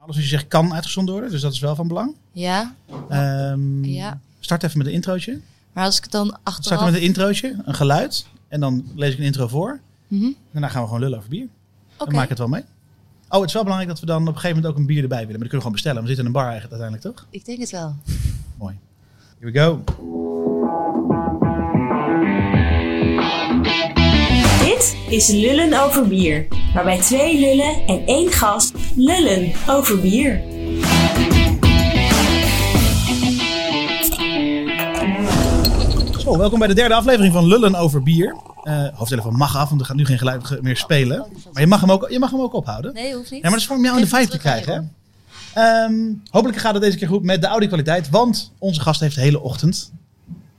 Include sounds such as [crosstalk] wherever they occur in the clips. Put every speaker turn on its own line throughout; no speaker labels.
Alles wat je zegt kan uitgezonden worden, dus dat is wel van belang.
Ja,
Ehm,
Ja.
Start even met een introotje.
maar als ik het dan achteraf...
Start met een introotje, een geluid. En dan lees ik een intro voor.
Mhm.
Daarna gaan we gewoon lullen over bier.
Oké.
Dan maak ik het wel mee. Oh, het is wel belangrijk dat we dan op een gegeven moment ook een bier erbij willen. Maar dat kunnen we gewoon bestellen. We zitten in een bar eigenlijk uiteindelijk, toch?
Ik denk het wel.
Mooi. Here we go.
Dit is Lullen over bier, waarbij twee lullen en één gast lullen over bier.
Zo, welkom bij de derde aflevering van Lullen over bier. Eh hoofdtelefoon mag af, want we gaan nu geen geluid meer spelen. Maar je mag hem ook, je mag hem ook ophouden.
Nee, hoeft niet.
Ja, maar dat is voor om jou in de
Geef
vijf
het
te
terug aan
krijgen. hè? Ehm, hopelijk gaat het deze keer goed met de audio-kwaliteit. Want onze gast heeft de hele ochtend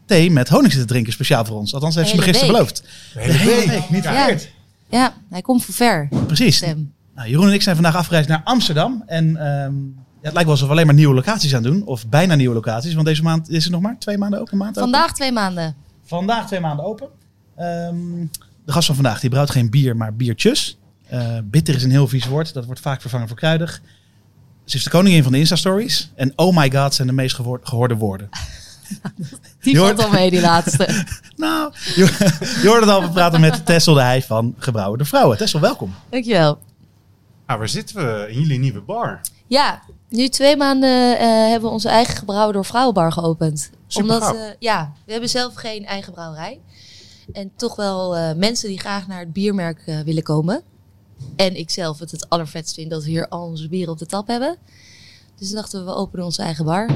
thee met honing zitten drinken. Speciaal voor ons. Althans, heeft ze me
hele
gisteren
week.
beloofd. De hele week. Niet verkeerd.
Ja, hij komt van ver,
Precies.
Stem.
Nou, Jeroen en ik zijn vandaag afgereisd naar Amsterdam. En ehm, ja, het lijkt wel alsof we alleen maar nieuwe locaties aan doen. Of bijna nieuwe locaties. Want deze maand is het nog maar twee maanden open. Maand open.
Vandaag twee maanden.
Vandaag twee maanden open. Ehm, de gast van vandaag, die brouwt geen bier, maar biertjes. Eh, bitter is een heel vies woord. Dat wordt vaak vervangen voor kruidig. Ze is de koningin van de Insta-stories. En oh my god zijn de meest gehoor- gehoorde woorden.
Die
Je
valt
hoort-
al mee, die laatste.
[laughs] Nou, je, je hoorde het al. We praten met Tessel de Heij van Gebrouwen de Vrouwen. Tessel, welkom.
Dankjewel.
Ah, waar zitten we? In jullie nieuwe bar.
Ja, nu twee maanden eh, hebben we onze eigen gebrouwen door Vrouwenbar geopend. Omdat,
Supergauw.
eh, ja, we hebben zelf geen eigen brouwerij. En toch wel eh, mensen die graag naar het biermerk eh, willen komen. En ik zelf het het allervetst vind dat we hier al onze bieren op de tap hebben. Dus toen dachten we, we openen onze eigen bar.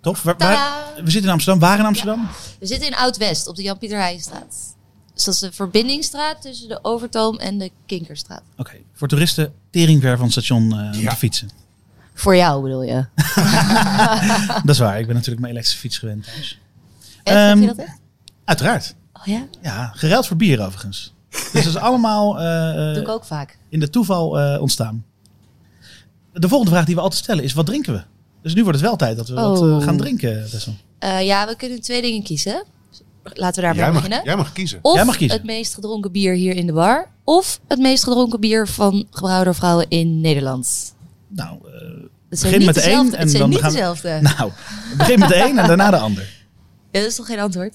Tof. Waar- waar-
Tadaa!
we zitten in Amsterdam. Waar in Amsterdam?
We zitten in Oud-West op de Jan-Pieter Heijstraat. Dus dat is de verbindingsstraat tussen de Overtoom en de Kinkerstraat.
Oké. Voor toeristen teringver van het station eh, om
Ja.
te fietsen.
Voor jou bedoel je?
Dat is waar. Ik ben natuurlijk mijn elektrische fiets gewend thuis.
Echt,
Ehm,
heb je dat echt?
Uiteraard.
Oh ja,
Ja, geruild voor bier overigens. Dus dat is allemaal eh,
doe ik ook vaak.
in de toeval eh, ontstaan. De volgende vraag die we altijd stellen is, wat drinken we? Dus nu wordt het wel tijd dat we wat
Oh.
eh, gaan drinken, Tessel.
Eh, ja, we kunnen twee dingen kiezen. Laten we daar
Jij
maar
mag,
beginnen.
jij mag kiezen.
Of
Jij mag kiezen.
het meest gedronken bier hier in de bar. Of het meest gedronken bier van gebrouwen door vrouwen in Nederland.
Nou, eh,
Het
Begin
zijn niet
met de
dezelfde.
een en
het zijn
dan
niet
gaan we-
dezelfde.
[laughs] nou, begin met de een en daarna de ander.
Ja, dat is toch geen antwoord?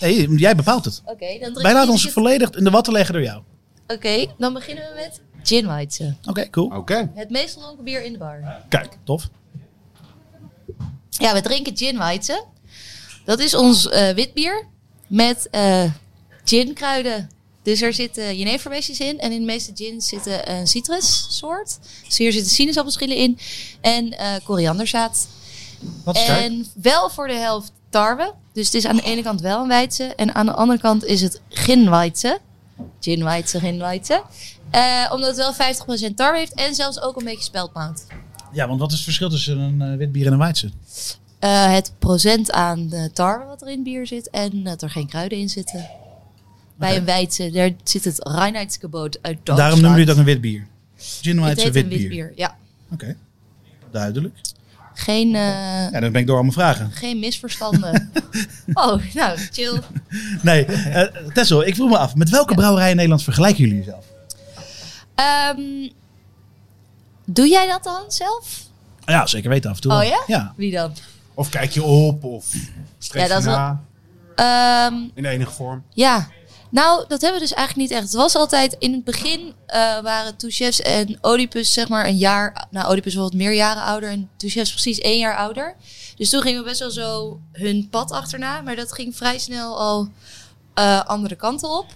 Nee, jij bepaalt het.
Oké, dan drink
Wij laten
ik
ons
het-
volledig in de watten leggen door jou.
Oké, dan beginnen we met gin white.
Oké, cool.
Oké. Oh.
Het meest gedronken bier in de bar.
Kijk.
Tof.
Ja, we drinken gin white. Dat is ons eh, witbier met eh ginkruiden. Dus er zitten jeneverbeestjes in. En in de meeste gins zitten een citrussoort. Dus hier zitten sinaasappelschillen in. En eh, korianderzaad.
Wat is het?
En wel voor de helft tarwe. Dus het is aan de ene kant wel een weidse. En aan de andere kant is het ginweidse. Ginweidse, ginweidse. Eh omdat het wel 50% tarwe heeft. En zelfs ook een beetje speldmout.
Ja, want wat is het verschil tussen een eh, wit bier en een Weidse?
Eh, het procent aan de tarwe wat er in bier zit en dat er geen kruiden in zitten. Bij
Oké.
een wijdse, daar zit het Reinheitsgebot uit Duitsland.
Daarom noemen jullie het ook een wit bier. Gin
Het
Weidse
heet
wit
een
bier.
witbier. Ja.
Oké, duidelijk.
Geen, eh,
Ja, dan ben ik door al mijn vragen.
geen
[laughs]
misverstanden. oh, nou, chill.
Nee, eh, Tessel, ik vroeg me af, met welke brouwerij in Nederland vergelijken jullie jezelf?
Ehm, doe jij dat dan zelf?
Ja, zeker weten af en toe.
Oh
wel.
ja?
Ja.
Wie dan?
Of kijk je op, of streef
Ja, dat
je
is wel-
na,
Ehm,
in enige vorm.
Ja, nou, dat hebben we dus eigenlijk niet echt. Het was altijd, in het begin eh, waren Two Chefs en Oedipus zeg maar een jaar... Nou, Oedipus was wat meer jaren ouder en Two Chefs precies één jaar ouder. Dus toen gingen we best wel zo hun pad achterna. Maar dat ging vrij snel al eh, andere kanten op.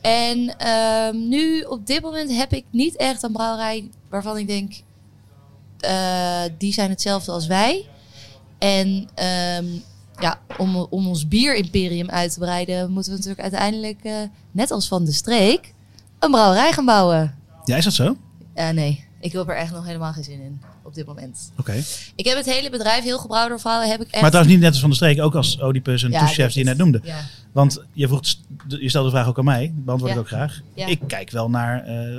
En ehm, nu, op dit moment, heb ik niet echt een brouwerij waarvan ik denk... eh, die zijn hetzelfde als wij. En ehm, ja, om, om ons bierimperium uit te breiden, moeten we natuurlijk uiteindelijk, eh, net als van de streek, een brouwerij gaan bouwen.
ja, is dat zo? Oké.
Eh, nee, ik heb er echt nog helemaal geen zin in op dit moment. Ik heb het hele bedrijf heel gebrouwen door vrouwen. Heb ik echt.
Maar trouwens niet net als Van de Streek, ook als Oedipus en
Ja,
ja,
ik weet
die je net
het.
noemde.
Ja.
Want je, vroeg, je stelde de vraag ook aan mij, beantwoord
Ja.
ik ook graag.
Ja.
Ik kijk wel naar eh,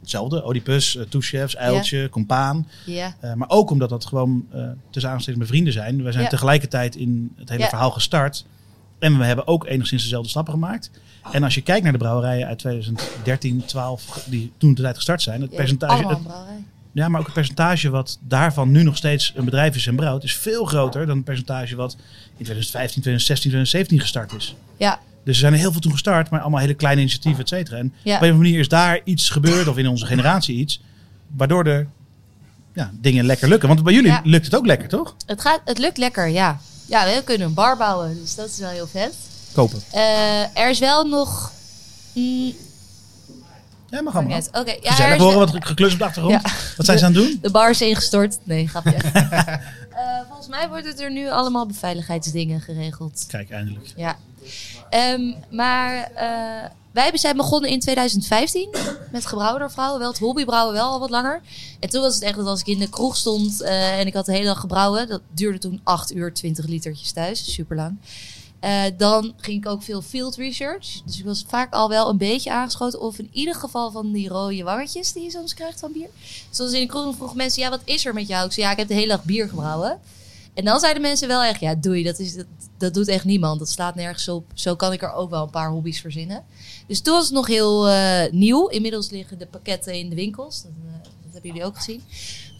hetzelfde, Oedipus, uh, Toechefs, Uiltje, Compaan.
ja.
Eh, maar ook omdat dat gewoon eh tussen aanstekens mijn vrienden zijn. Wij zijn
Ja.
tegelijkertijd in het hele
Ja.
verhaal gestart. En we hebben ook enigszins dezelfde stappen gemaakt.
Oh.
En als je kijkt naar de brouwerijen uit 2013, 12, die toen de tijd gestart zijn, het
Ja,
percentage.
allemaal
het-
een brouwerij.
Ja, maar ook het percentage wat daarvan nu nog steeds een bedrijf is en brouwt, is veel groter dan het percentage wat in 2015, 2016, 2017 gestart is.
Ja,
Dus er zijn er heel veel toen gestart, maar allemaal hele kleine initiatieven, et cetera. En
Ja.
op een of andere manier is daar iets gebeurd, of in onze generatie iets, waardoor de ja, dingen lekker lukken. Want bij jullie
Ja.
lukt het ook lekker, toch?
het, gaat, het lukt lekker, ja. Ja, we kunnen een bar bouwen, dus dat is wel heel vet.
Kopen.
Eh, er is wel nog... mm,
Ja, maar allemaal.
Oké, ja, er
Gezellig
is-
horen wat ge- geklus op de achtergrond.
Ja.
Wat zijn ze aan het
[laughs]
doen?
De bar is ingestort.
[laughs]
Nee, grapje. Eh volgens mij wordt het er nu allemaal beveiligheidsdingen geregeld.
Kijk, eindelijk.
Ja. Ehm, maar eh, wij zijn begonnen in 2015 [coughs] met gebrouwervrouwen. Wel het hobbybrouwen wel al wat langer. En toen was het echt dat als ik in de kroeg stond eh, en ik had de hele dag gebrouwen. Dat duurde toen 8 uur, 20 litertjes thuis. Super lang. dan ging ik ook veel field research. Dus ik was vaak al wel een beetje aangeschoten. Of in ieder geval van die rode wangetjes die je soms krijgt van bier. Soms in de kroeg vroegen mensen, ja wat is er met jou? Ik zei, ja ik heb de hele dag bier gebrouwen. En dan zeiden mensen wel echt, ja doei, dat, is, dat, dat doet echt niemand. Dat slaat nergens op. Zo kan ik er ook wel een paar hobby's verzinnen. Dus toen was het nog heel eh, nieuw. Inmiddels liggen de pakketten in de winkels. Dat, eh, dat hebben jullie ook gezien.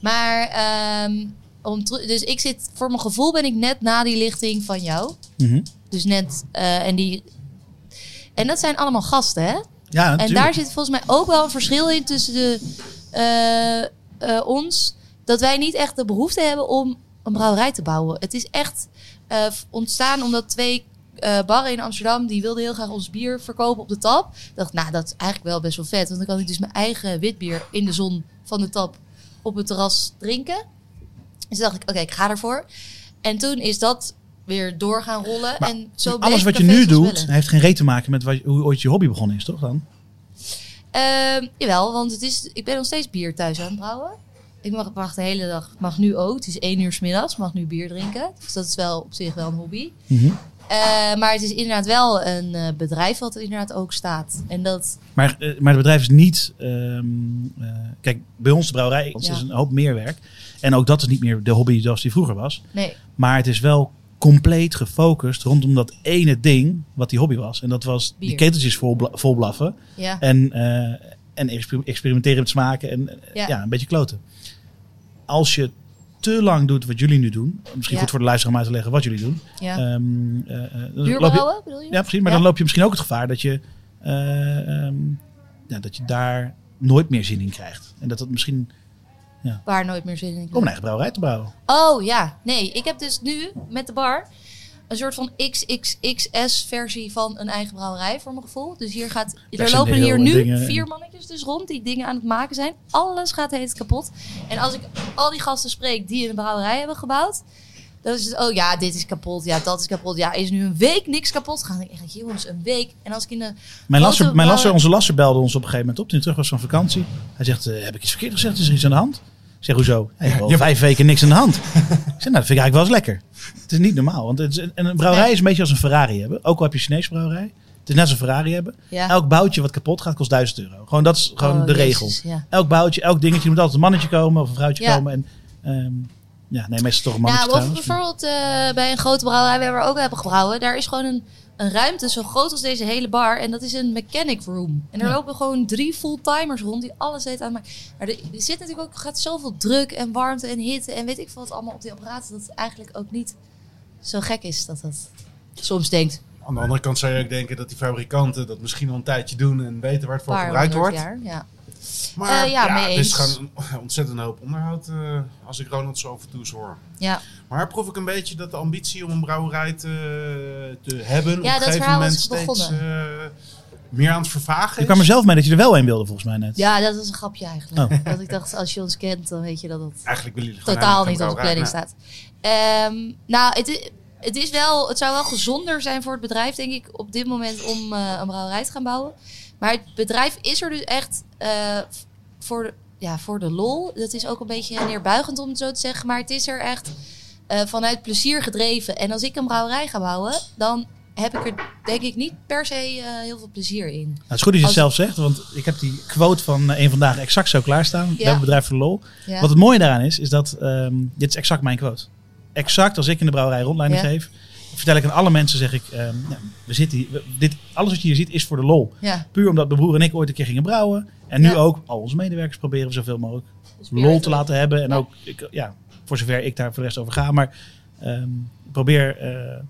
Maar, ehm, om teru- dus ik zit, voor mijn gevoel ben ik net na die lichting van jou.
Mhm.
Dus net, eh, en die... En dat zijn allemaal gasten, hè?
Ja,
En
natuurlijk.
daar zit volgens mij ook wel een verschil in tussen de, eh, eh, ons. Dat wij niet echt de behoefte hebben om een brouwerij te bouwen. Het is echt eh, ontstaan omdat twee eh, barren in Amsterdam... die wilden heel graag ons bier verkopen op de tap. Ik dacht, nou, dat is eigenlijk wel best wel vet. Want dan kan ik dus mijn eigen witbier in de zon van de tap... op het terras drinken. Dus dacht ik, oké, ik ga ervoor. En toen is dat weer door gaan rollen.
Maar
en zo
Alles
bleef
wat je
Café
nu
Van
doet,
Zwellen.
heeft geen reet te maken met wat, hoe ooit je hobby begonnen is, toch dan?
Ehm, jawel, want het is, ik ben nog steeds bier thuis aan het brouwen. Ik mag, mag de hele dag, mag nu ook, het is één uur 's middags, mag nu bier drinken. Dus dat is wel op zich wel een hobby.
Mhm.
Eh, maar het is inderdaad wel een eh, bedrijf wat er inderdaad ook staat. En dat,
Maar, eh, maar het bedrijf is niet. ehm, eh, kijk, bij ons de brouwerij dat
Ja.
is een hoop meerwerk. En ook dat is niet meer de hobby zoals die vroeger was.
nee,
Maar het is wel compleet gefocust rondom dat ene ding wat die hobby was. En dat was die
Bier.
keteltjes vol, bla- vol blaffen.
ja.
En, eh, en exper- experimenteren met smaken. En eh, ja.
Ja.
een beetje kloten. Als je te lang doet wat jullie nu doen. Misschien
Ja.
goed voor de luisteraar om uit te leggen wat jullie doen.
ja.
ehm, eh, eh, dan
Bier
loop je-
brouwen, bedoel je?
ja, precies. Maar
Ja.
dan loop je misschien ook het gevaar dat je, eh, ehm, ja, dat je daar nooit meer zin in krijgt. En dat dat misschien...
Waar nooit meer zin in.
Om een eigen brouwerij te bouwen.
Oh ja, nee. Ik heb dus nu met de bar een soort van XXXS-versie van een eigen brouwerij voor mijn gevoel. Dus hier gaat, er
Personeel
lopen hier
en
nu
dingen en-
vier mannetjes dus rond die dingen aan het maken zijn. Alles gaat heet kapot. En als ik al die gasten spreek die een brouwerij hebben gebouwd, dan is het, oh ja, dit is kapot, ja, dat is kapot. Ja, is nu een week niks kapot gegaan. Dan denk ik, jongens, een week. En als ik in de...
Mijn
Grote
lasser, mijn
brouwer-
lasser, onze lasser belde ons op een gegeven moment op toen hij terug was van vakantie. Hij zegt, eh, heb ik iets verkeerd gezegd? Is er iets aan de hand? Ik zeg, hoezo? Hij heeft al
Ja.
vijf weken niks aan de hand. [laughs] ik zeg, nou, dat vind ik eigenlijk wel eens lekker. Het is niet normaal. Want het is, en een brouwerij is een beetje als een Ferrari hebben. Ook al heb je een Chinese brouwerij. Het is net als een Ferrari hebben.
Ja.
Elk boutje wat kapot gaat kost 1000 euro. Gewoon, dat is gewoon
Oh,
de
Jezus,
regel.
ja.
elk boutje, elk dingetje moet altijd een mannetje komen of een vrouwtje
Ja. Nou,
komen. En ehm, ja, nee, meestal toch een
Ja,
mannetje
of
trouwens.
bijvoorbeeld eh, bij een grote brouwerij waar we ook hebben gebrouwen, daar is gewoon een, een ruimte zo groot als deze hele bar. En dat is een mechanic room. En daar
Ja.
lopen gewoon drie fulltimers rond die alles heet aan maken. Maar er, er zit natuurlijk ook, gaat zoveel druk en warmte en hitte en weet ik veel wat allemaal op die apparaten. Dat het eigenlijk ook niet zo gek is dat dat soms denkt.
Aan de andere kant zou je ook denken dat die fabrikanten dat misschien al een tijdje doen en weten waar het voor
Paar
gebruikt
honderd
wordt.
jaar. Ja.
Maar
Eh, ja, mee
het is
eens.
gewoon een ontzettend hoop onderhoud eh, als ik Ronald zo af en toe eens hoor.
Ja.
Maar proef ik een beetje dat de ambitie om een brouwerij te, te hebben op een
dat
gegeven
verhaal
moment
is
steeds
begonnen.
eh, meer aan het vervagen
Je kwam er zelf mee dat je er wel een wilde volgens mij net.
ja, dat was een grapje eigenlijk. Want ik dacht, als je ons kent, dan weet je dat het
Eigenlijk willen jullie gewoon
totaal niet op
helemaal
de
geen
planning
brouwerij. Nou,
staat. Ehm, nou, het, i- het, is wel, het zou wel gezonder zijn voor het bedrijf, denk ik, op dit moment om eh, een brouwerij te gaan bouwen. Maar het bedrijf is er dus echt eh, f- voor, de, ja, voor de lol. Dat is ook een beetje neerbuigend om het zo te zeggen. Maar het is er echt eh, vanuit plezier gedreven. En als ik een brouwerij ga bouwen, dan heb ik er denk ik niet per se eh, heel veel plezier in.
Nou, het is goed dat je het
Als-
zelf zegt, want ik heb die quote van eh, een vandaag exact zo klaarstaan. We
Ja.
hebben bedrijf voor de lol.
Ja.
Wat het mooie daaraan is, is dat ehm, dit is exact mijn quote. Exact als ik in de brouwerij rondleiding
Ja.
geef, vertel ik aan alle mensen, zeg ik, ehm, nou, we zitten hier, we- dit, alles wat je hier ziet is voor de lol.
Ja.
Puur omdat mijn broer en ik ooit een keer gingen brouwen. En nu
Ja.
ook al onze medewerkers proberen we zoveel mogelijk lol te laten hebben. En
Ja.
ook, ik, ja, voor zover ik daar voor de rest over ga. Maar ehm, ik probeer eh,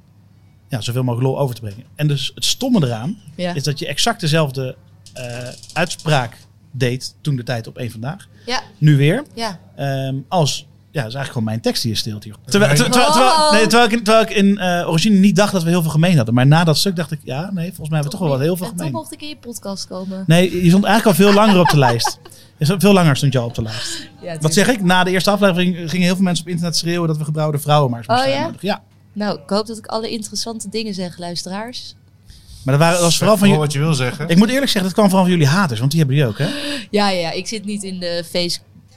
ja, zoveel mogelijk lol over te brengen. En dus het stomme eraan
Ja.
is dat je exact dezelfde eh, uitspraak deed toen de tijd op één vandaag.
Ja.
Nu weer.
Ja.
Ehm, als, ja, dat is eigenlijk gewoon mijn tekst die je steelt hier. Terwijl, ter-
Wow.
terwijl-
Oh.
terwijl- nee, terwijl ik, terwijl ik in eh, origine niet dacht dat we heel veel gemeen hadden. Maar na dat stuk dacht ik, ja, nee, volgens mij hebben we toch wel wat heel veel
En toen
gemeen.
mocht ik in je podcast komen.
Nee, je stond eigenlijk al veel langer op de lijst. [laughs] Je stond- Veel langer stond je al op de lijst. Wat zeg ik? Na de eerste aflevering gingen heel veel mensen op internet schreeuwen dat we gebrouwde vrouwen maar eens
Oh,
moesten
ja?
uitnodigen. Ja,
Nou, ik hoop dat ik alle interessante dingen zeg, luisteraars.
maar dat, waren, dat was vooral van
Zeg
jullie.
Oh, wat je wil zeggen.
Ik moet eerlijk zeggen, dat kwam vooral van jullie haters, want die hebben jullie ook, hè?
Ja, ja, ik zit niet in de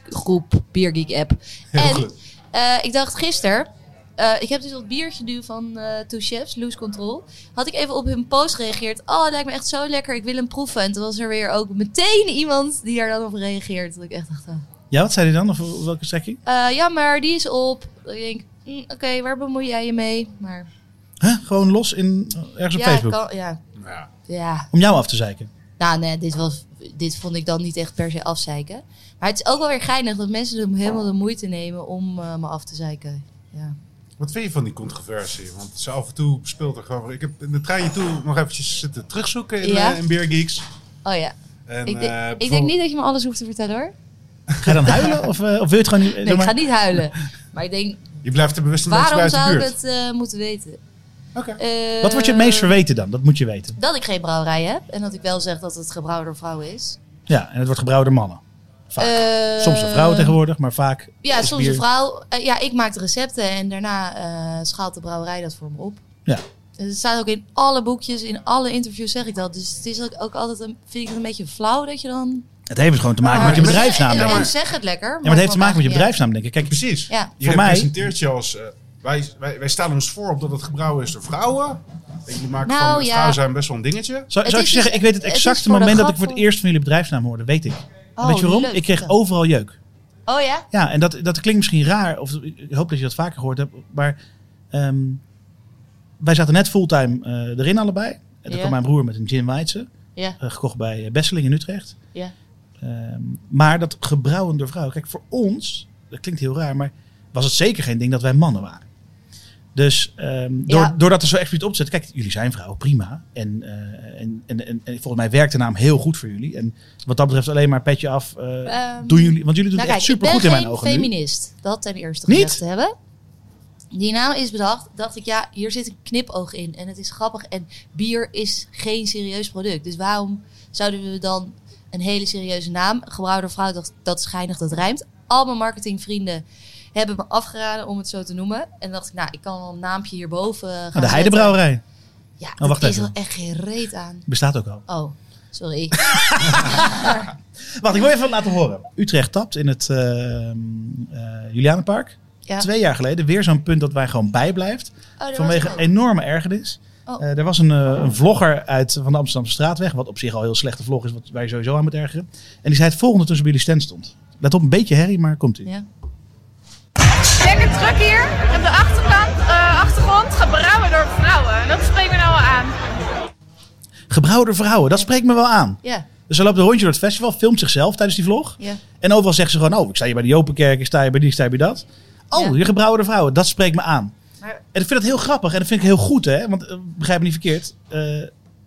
Facebookgroep Beer Geek app.
Heel
en
goed.
eh, ik dacht gisteren, eh, ik heb dus dat biertje nu van eh Two Chefs, Loose Control. Had ik even op hun post gereageerd. Oh, het lijkt me echt zo lekker, ik wil hem proeven. En toen was er weer ook meteen iemand die daar dan op reageert. Dat ik echt dacht, oh.
Ja, wat zei die dan? Of op welke strekking?
Eh, ja, maar die is op. Dat Ik denk, mm, oké, waar bemoei jij je mee? Maar
Huh? Gewoon los in, ergens op
ja,
Facebook.
Kan, ja,
Nou Ja.
ja.
Om jou af te zeiken.
Nou, nee, dit, was, dit vond ik dan niet echt per se afzeiken. Maar het is ook wel weer geinig dat mensen er helemaal de moeite nemen om eh, me af te zeiken. Ja.
Wat vind je van die controversie? Want ze af en toe speelt er gewoon... Ik heb in de trein toe nog eventjes zitten terugzoeken in,
Ja.
eh, in Beer Geeks.
Oh ja, ik, denk-
En, eh,
ik denk
bijvoorbeeld-
niet dat je me alles hoeft te vertellen hoor.
Ga je
[laughs]
dan huilen? Of, eh, of wil je het gewoon niet?
Nee, ik ga niet
[laughs]
huilen. Maar ik denk,
Je blijft er bewust een beetje
waarom
buiten de
zou ik
buurt.
het eh, moeten weten?
Oké.
Eh,
Wat wordt je het meest verweten dan? Dat moet je weten.
Dat ik geen brouwerij heb en dat ik wel zeg dat het gebrouwen door vrouwen is.
Ja, en het wordt gebrouwd door mannen. Vaak.
Eh,
Soms een vrouw tegenwoordig, maar vaak.
Ja,
is
soms
bier-
een vrouw. Eh, ja, ik maak de recepten en daarna eh, schaalt de brouwerij dat voor me op.
Ja.
En Het staat ook in alle boekjes, in alle interviews zeg ik dat. Dus het is ook, ook altijd een, vind ik het een beetje flauw dat je dan.
Het heeft dus gewoon te maken
Maar-
met je
maar-
bedrijfsnaam.
En,
denk ik.
en
Ja, maar,
zeg het lekker.
het heeft te maken met je
maakt
bedrijfsnaam, denk ik. Kijk,
Precies.
Ja.
Je
Voor mij-
presenteert je als... eh, wij, wij, wij staan ons voor op dat het gebrouwen is door vrouwen. Ik maak
Nou,
van
ja.
vrouwen zijn best wel een dingetje.
Zou,
Het
zou ik
is
je zeggen,
dus-
ik weet het
het is
exacte
voor de
moment dat ik
grap
voor het
van-
eerst van jullie bedrijfsnaam hoorde, weet ik.
Oh,
weet je waarom?
leuk.
Ik kreeg
Ja.
overal jeuk.
niet uit. Oh ja?
Ja, en dat, dat klinkt misschien raar, of ik hoop dat je dat vaker gehoord hebt, maar ehm, wij zaten net fulltime eh, erin allebei. En toen
Ja.
kwam mijn broer met een gin Weidse,
Ja.
eh, gekocht bij eh, Besseling in Utrecht.
Ja.
Ehm, maar dat gebrouwen door vrouwen, kijk, voor ons, dat klinkt heel raar, maar was het zeker geen ding dat wij mannen waren. Dus ehm, door,
Ja.
doordat er zo expliciet op zit, kijk, jullie zijn vrouwen, prima. En, eh, en, en, en, en volgens mij werkt de naam heel goed voor jullie. En wat dat betreft alleen maar petje af. eh,
Ehm,
doen jullie, want jullie doen
Nou
het
kijk,
echt
ik ben
supergoed in mijn
geen
ogen nu.
feminist. Dat ten eerste
Niet?
gezegd te hebben. Die naam is bedacht, dacht ik, ja, hier zit een knipoog in. En het is grappig. En bier is geen serieus product. Dus waarom zouden we dan een hele serieuze naam, gebrouwen door vrouw, dacht, dat is geinig, dat rijmt. Al mijn marketingvrienden hebben me afgeraden om het zo te noemen. En dacht ik, nou, ik kan wel een naampje hierboven eh, gaan
Nou, de
zetten.
Heidebrouwerij
Ja,
Oh, wacht
dat is
even.
er echt geen reet aan.
bestaat ook al.
Oh,
[laughs]
sorry.
Wacht, ik wil even wat laten horen. Utrecht tapt in het ehm, eh, Julianenpark.
Ja.
Twee jaar geleden weer zo'n punt dat wij gewoon bijblijft.
Oh, daar
vanwege
was ik ook.
enorme ergernis.
Oh.
Eh, er was een, eh, een vlogger uit van de Amsterdamse straatweg. Wat op zich al een heel slechte vlog is, wat wij sowieso aan moet ergeren. En die zei het volgende tussen bij jullie stand stond. Let op, een beetje herrie, maar komt u.
Ja.
Lekker druk hier. Op de achterkant, eh, achtergrond gebrouwen door vrouwen. Dat spreekt me nou wel aan.
Gebrouwen door vrouwen, dat spreekt me wel aan.
Ja,
Dus ze loopt een rondje door het festival, filmt zichzelf tijdens die vlog.
ja.
En overal zegt ze gewoon, oh, ik sta hier bij de Jopenkerk, ik sta hier bij die, ik sta hier bij dat. Oh,
Ja.
je gebrouwde vrouwen, dat spreekt me aan.
Maar-
En ik vind dat heel grappig en dat vind ik heel goed, hè. Want eh, begrijp me niet verkeerd, eh,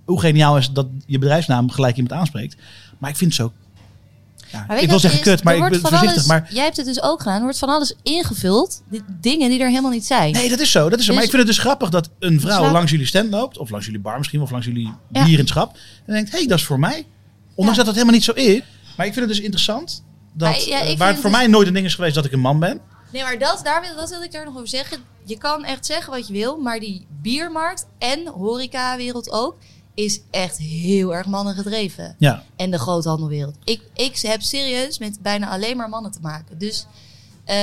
hoe geniaal is het dat je bedrijfsnaam gelijk iemand aanspreekt. Maar ik vind het zo... Ja,
Maar weet
ik
je
wil
wat
zeggen
het is?
kut, maar
Er
ik
wordt
ben
van
voorzichtig.
alles-
Maar
Jij hebt het dus ook gedaan. Er wordt van alles ingevuld. Die dingen die er helemaal niet zijn.
nee, dat is zo, dat is zo.
Dus-
maar ik vind het dus grappig dat een vrouw
Slaap-
langs jullie stand loopt, of langs jullie bar misschien, of langs jullie
Ja.
bierenschap. En denkt, hé, hey, dat is voor mij. Ondanks dat
Ja.
dat helemaal niet zo is. Maar ik vind het dus interessant, dat,
Maar ja,
eh,
ik
waar
vind
het voor
het dus-
mij nooit een ding is geweest dat ik een man ben.
Nee, maar dat, daar wil, dat wil ik daar nog over zeggen. Je kan echt zeggen wat je wil. Maar die biermarkt en horecawereld ook... is echt heel erg mannen gedreven.
Ja.
En de groothandelwereld. Ik, ik heb serieus met bijna alleen maar mannen te maken. Dus... eh,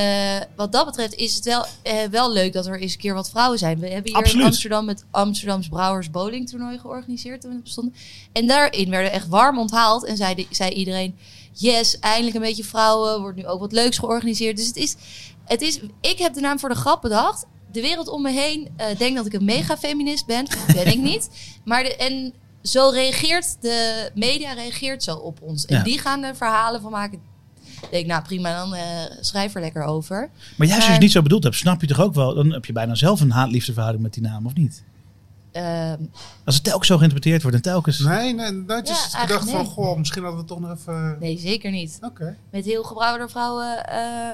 wat dat betreft is het wel, eh, wel leuk dat er eens een keer wat vrouwen zijn. We hebben hier
Absoluut.
in Amsterdam het Amsterdams Brouwers Bowling toernooi georganiseerd toen het bestond. En daarin werden echt warm onthaald en zei, zei iedereen: Yes, eindelijk een beetje vrouwen. Wordt nu ook wat leuks georganiseerd. Dus het is, het is, ik heb de naam voor de grap bedacht. de wereld om me heen eh, denkt dat ik een mega-feminist ben. [laughs] Ben ik niet. Maar de, en zo reageert de media reageert zo op ons. En
Ja.
die gaan er verhalen van maken. Ik denk, nou prima, dan eh, schrijf er lekker over.
Maar juist als je
Maar-
het niet zo bedoeld hebt, snap je toch ook wel... dan heb je bijna zelf een haat-liefdeverhouding met die naam, of niet?
Ehm,
Als het telkens zo geïnterpreteerd wordt en telkens...
Nee, nee, nooit
Ja,
is het
eigenlijk
gedacht van,
nee.
goh, misschien hadden we toch nog even...
nee, zeker niet.
Oké.
Met heel gebrouwen door vrouwen. eh,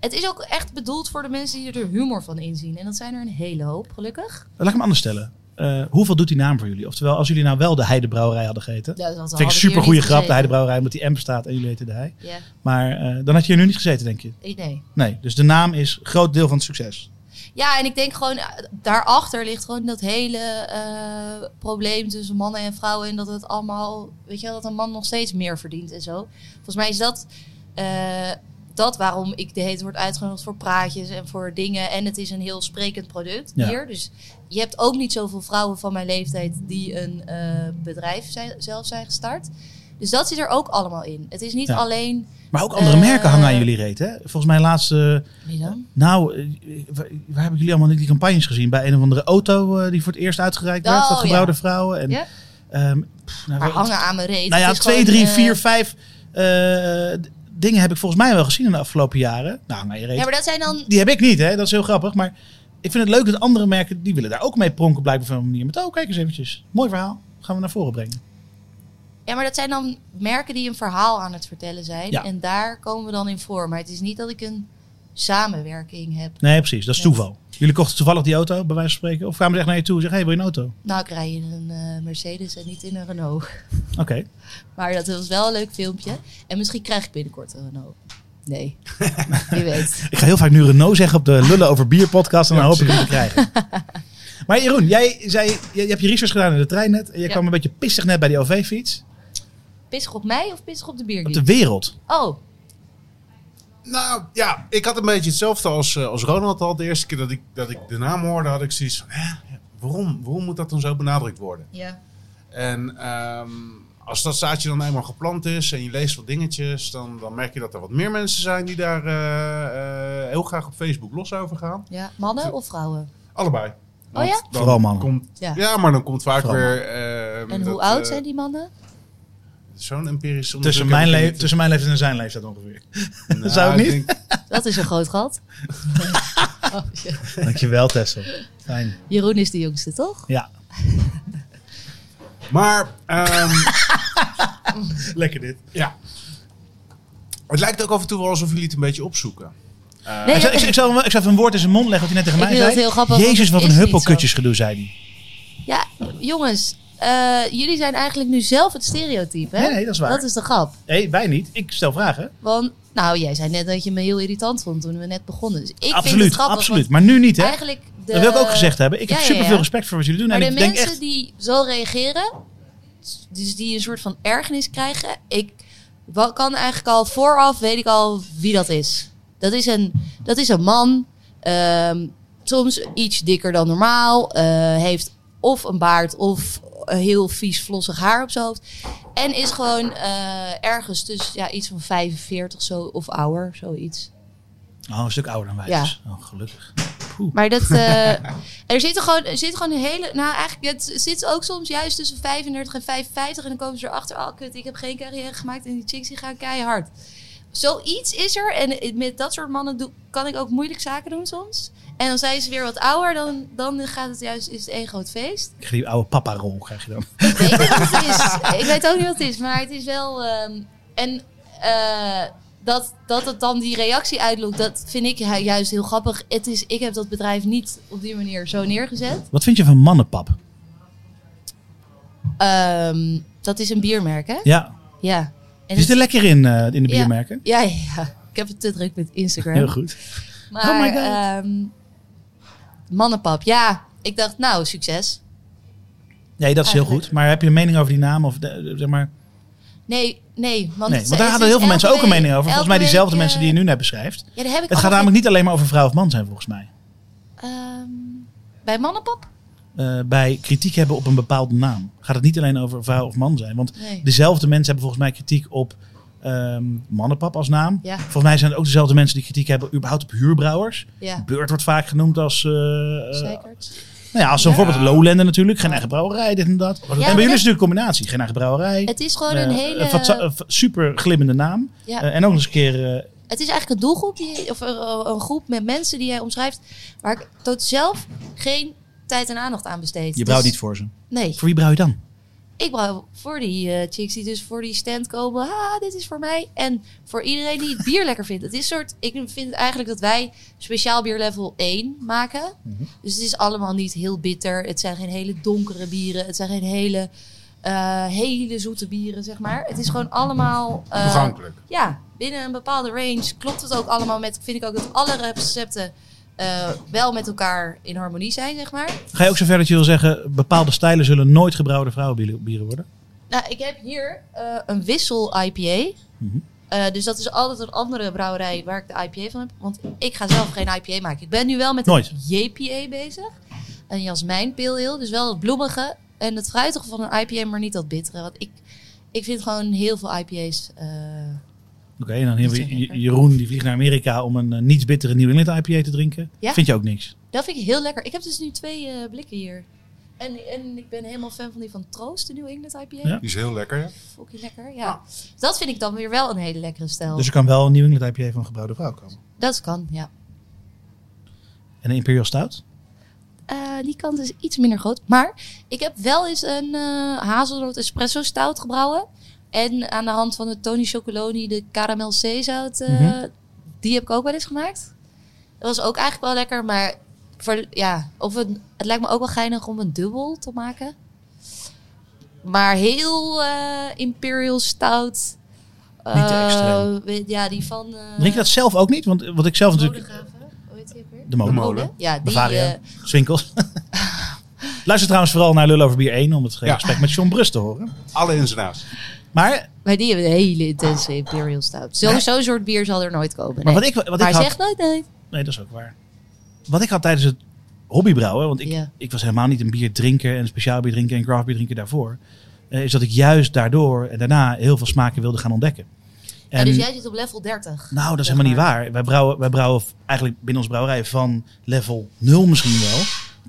het is ook echt bedoeld voor de mensen die er humor van inzien. En dat zijn er een hele hoop, gelukkig.
Laat ik hem anders stellen. Eh, hoeveel doet die naam voor jullie? Oftewel, als jullie nou wel de Heidebrouwerij hadden gegeten...
Ja, want we
vind ik
hadden
een super goede
hier niet
grap, de
gezeten.
Heidebrouwerij, omdat die M bestaat en jullie heten de Hei.
Ja,
Maar eh, dan had je hier nu niet gezeten, denk je?
ik- nee.
Nee, dus de naam is groot deel van het succes.
Ja, en ik denk gewoon, eh, daarachter ligt gewoon dat hele eh, probleem tussen mannen en vrouwen. En dat het allemaal, weet je wel, dat een man nog steeds meer verdient en zo. Volgens mij is dat, eh, dat waarom ik de hete word uitgenodigd voor praatjes en voor dingen. En het is een heel sprekend product
Ja.
hier. Dus je hebt ook niet zoveel vrouwen van mijn leeftijd die een eh, bedrijf zijn, zelf zijn gestart. Dus dat zit er ook allemaal in. Het is niet
Ja.
alleen...
Maar ook andere
Eh.
merken hangen aan jullie reet, hè? Volgens mij laatste...
Milan?
Nou, eh, waar, waar hebben jullie allemaal niet die campagnes gezien? Bij een of andere auto eh, die voor het eerst uitgereikt werd.
Oh,
Dat gebouwde
ja.
vrouwen. En,
Ja.
ehm, pff, nou,
Maar
wat-
hangen aan mijn reet.
nou ja,
Het is
twee,
gewoon,
drie,
eh,
vier, vijf eh, d- dingen heb ik volgens mij wel gezien in de afgelopen jaren. Nou, hangen aan je reet.
Ja, maar dat zijn dan
Die heb ik niet, hè? Dat is heel grappig. Maar ik vind het leuk dat andere merken, die willen daar ook mee pronken blijkbaar van een manier. Maar oh, kijk eens eventjes. Mooi verhaal. Gaan we naar voren brengen.
Ja, maar dat zijn dan merken die een verhaal aan het vertellen zijn.
Ja.
En daar komen we dan in voor. Maar het is niet dat ik een samenwerking heb.
Nee, precies. Dat is
Net.
toeval. Jullie kochten toevallig die auto, bij wijze van spreken. Of kwamen ze echt naar je toe en zeggen, hey, wil je een auto?
Nou, ik rij in een eh, Mercedes en niet in een Renault. [laughs]
Oké.
Maar dat was wel een leuk filmpje. En misschien krijg ik binnenkort een Renault.
[laughs]
Nee, wie weet.
Ik ga heel vaak nu Renault zeggen op de Lullen over Bier podcast. En dan hoop ik hem te krijgen.
[laughs]
Maar Jeroen, jij, zei, je, je hebt je research gedaan in de trein net. En je
Ja.
kwam een beetje pissig net bij die OV-fiets.
Pissig op mij of pissig op de
Op de
bierdienst?
wereld.
Oh,
Nou ja, ik had een beetje hetzelfde als, eh, als Ronald al. De eerste keer dat ik, dat ik de naam hoorde, had ik zoiets van... Hè, waarom, waarom moet dat dan zo benadrukt worden?
ja.
En ehm, als dat zaadje dan eenmaal geplant is en je leest wat dingetjes... dan, dan merk je dat er wat meer mensen zijn die daar eh, eh, heel graag op Facebook los over gaan.
ja. Mannen of vrouwen?
Allebei. Want
Oh ja?
dan
Vooral mannen.
Komt,
Ja.
ja. maar dan komt vaak
Vooral
weer... ehm,
En
dat,
hoe oud
eh,
zijn die mannen?
Zo'n empirisch onderzoek...
Tussen mijn,
heb ik
le-
niet.
tussen mijn leeftijd en zijn leeftijd ongeveer. [laughs]
Nou,
Zou het
ik
niet?
denk-
Dat is een groot gat. Oh, ja.
Dankjewel, Tessel. Fijn.
Jeroen is de jongste, toch?
Ja.
maar... ehm,
Lekker dit.
Ja. Het lijkt ook af en toe wel alsof jullie het een beetje opzoeken.
Nee,
Ik zou, ik, zou- ik zou hem- ik zou even een woord in zijn mond leggen wat hij net tegen
Ik
mij
vind
zei.
dat heel grappig, want
Jezus,
het
wat
is
een
niet
huppelkutjesgedoe, zei hij.
Ja, jongens, eh, jullie zijn eigenlijk nu zelf het stereotype, hè?
Nee, nee, dat is waar.
Dat is de grap.
Nee, wij niet. Ik stel vragen.
Want, nou, jij zei net dat je me heel irritant vond toen we net begonnen. Dus ik vind het
absoluut,
grappig.
absoluut.
want
Maar nu niet, hè?
Eigenlijk de,
dat wil ik ook gezegd hebben. Ik
Ja,
heb
ja, ja.
superveel respect voor wat jullie doen.
Maar
en
de
ik denk
mensen
echt...
die zo reageren, dus die een soort van ergernis krijgen, ik wa- kan eigenlijk al vooraf, weet ik al wie dat is. Dat is een, dat is een man, ehm, soms iets dikker dan normaal, eh, heeft of een baard of een heel vies vlossig haar op zijn hoofd. En is gewoon eh, ergens tussen ja, iets van 45 zo, of ouder, zoiets.
Oh, een stuk ouder dan wij.
Ja.
dus. Oh, gelukkig.
Maar dat, eh, er zitten gewoon, er zit gewoon een hele. Nou, eigenlijk het zit ook soms juist tussen 35 en 55. En dan komen ze erachter. Oh, kut, ik heb geen carrière gemaakt. En die chicks die gaan keihard. Zoiets is er. En met dat soort mannen doe, kan ik ook moeilijk zaken doen soms. En dan zijn ze weer wat ouder. Dan, dan gaat het juist, is het één groot feest.
Ik krijg die oude papa-rol, krijg je dan. [laughs]
Ik weet niet wat het is. Ik weet ook niet wat het is, maar het is wel. ehm, en eh, dat, dat het dan die reactie uitlokt, dat vind ik ju- juist heel grappig. Het is, ik heb dat bedrijf niet op die manier zo neergezet.
Wat vind je van mannenpap?
Ehm, dat is een biermerk, hè?
Ja.
Ja. En
Zit er
het-
lekker in, eh, in de biermerken?
ja, ja, ja. Ik heb het te druk met Instagram.
Heel goed.
Maar,
Oh my God.
ehm, mannenpap, ja. Ik dacht, nou, succes.
Nee, dat is heel
Eigenlijk.
goed. Maar heb je een mening over die naam? Of de- zeg maar...
Nee, nee.
Nee,
Want, het-
want daar
het
hadden
is
heel veel mensen ook
elke
een
week-
mening over. Volgens mij
elke
diezelfde
week,
mensen die je
eh,
nu net beschrijft.
Ja, daar heb
Het
ik
gaat
allemaal
namelijk niet alleen maar over vrouw of man zijn, volgens mij.
Ehm, bij mannenpap?
eh, bij kritiek hebben op een bepaalde naam. Gaat het niet alleen over vrouw of man zijn. Want
Nee.
dezelfde mensen hebben volgens mij kritiek op eh, ehm, mannenpap als naam.
Ja.
Volgens mij zijn het ook dezelfde mensen die kritiek hebben überhaupt op huurbrouwers.
Ja.
Beurt wordt vaak genoemd als... eh, eh,
Zeikert.
nou ja, als zo'n
Ja.
voorbeeld Lowlander natuurlijk. Geen eigen brouwerij, dit en dat. en bij
maar
jullie is
dat-
het natuurlijk een combinatie. Geen eigen brouwerij.
Het is gewoon een
eh,
hele...
een fatsa- een fa- super glimmende naam.
ja.
Eh, en ook nog eens een keer... eh,
het is eigenlijk een doelgroep, die, of een, een groep met mensen die jij omschrijft, waar ik tot zelf geen tijd en aandacht aan besteed.
je brouwt
Dus-
niet voor ze.
Nee,
Voor wie brouw je dan?
ik brouw voor die eh, chicks die dus voor die stand komen. Ha, dit is voor mij. En voor iedereen die het bier lekker vindt. Het is soort, ik vind eigenlijk dat wij speciaal bier level 1 maken. Dus het is allemaal niet heel bitter. Het zijn geen hele donkere bieren. Het zijn geen hele, eh, hele zoete bieren, zeg maar. Het is gewoon allemaal... eh,
Toegankelijk.
ja, binnen een bepaalde range klopt het ook allemaal met. Vind ik ook dat alle recepten eh, wel met elkaar in harmonie zijn, zeg maar.
Ga je ook zover dat je wil zeggen, bepaalde stijlen zullen nooit gebrouwde vrouwenbieren worden?
Nou, ik heb hier eh, een wissel IPA.
Mhm.
Eh, dus dat is altijd een andere brouwerij waar ik de IPA van heb. Want ik ga zelf geen IPA maken. Ik ben nu wel met
Nooit.
een JPA bezig. Een jasmijn pale ale. Dus wel het bloemige en het fruitige van een IPA, maar niet dat bittere. Want ik, ik vind gewoon heel veel IPA's... eh,
Oké, en dan hebben
Niet
we
zo lekker.
J- Jeroen, die vliegt naar Amerika om een eh, niets bittere New England IPA te drinken.
Ja?
Vind je ook niks?
Dat vind ik heel lekker. Ik heb dus nu twee eh, blikken hier. En, en ik ben helemaal fan van die van Troost, de New England IPA.
Ja.
Die is heel lekker, ja.
Fucking lekker, ja. Dat vind ik dan weer wel een hele lekkere stijl.
Dus er kan wel een New England IPA van een gebrouwde vrouw komen.
Dat kan, ja.
En een Imperial Stout?
Eh, die kant is iets minder groot. Maar ik heb wel eens een eh, hazelnoot espresso stout gebrouwen. En aan de hand van de Tony Chocoloni, de caramel zeezout, eh,
Mhm.
die heb ik ook wel eens gemaakt. Dat was ook eigenlijk wel lekker, maar voor, ja, of een, het lijkt me ook wel geinig om een dubbel te maken. Maar heel eh, imperial stout.
Niet te
Eh,
extreem.
weet- ja, die van... eh,
Drink je dat zelf ook niet? Want eh, wat ik zelf natuurlijk...
Bodegraven? Hoe heet die ook weer?
De molen.
De molen.
Ja, die...
Bavaria.
eh, [laughs]
Swinkels. Luister trouwens vooral naar Lul over Bier 1 om het
Ja.
gesprek met John Brus te horen.
Alle ins en outs.
Maar,
Maar die hebben een hele intense Imperial Stout. Zo- Zo'n soort bier zal er nooit komen.
maar
nee.
wat ik, wat
maar
ik had...
zeg nooit nee.
Nee, dat is ook waar. Wat ik had tijdens het hobbybrouwen, want ik,
Ja.
ik was helemaal niet een bierdrinker en speciaal bierdrinker en craft bierdrinker daarvoor, eh, is dat ik juist daardoor en daarna heel veel smaken wilde gaan ontdekken. En,
Ja, dus jij zit op level 30.
nou, dat is
zeg
helemaal niet
maar.
waar. Wij brouwen, wij brouwen v- eigenlijk binnen onze brouwerij van level 0 misschien wel,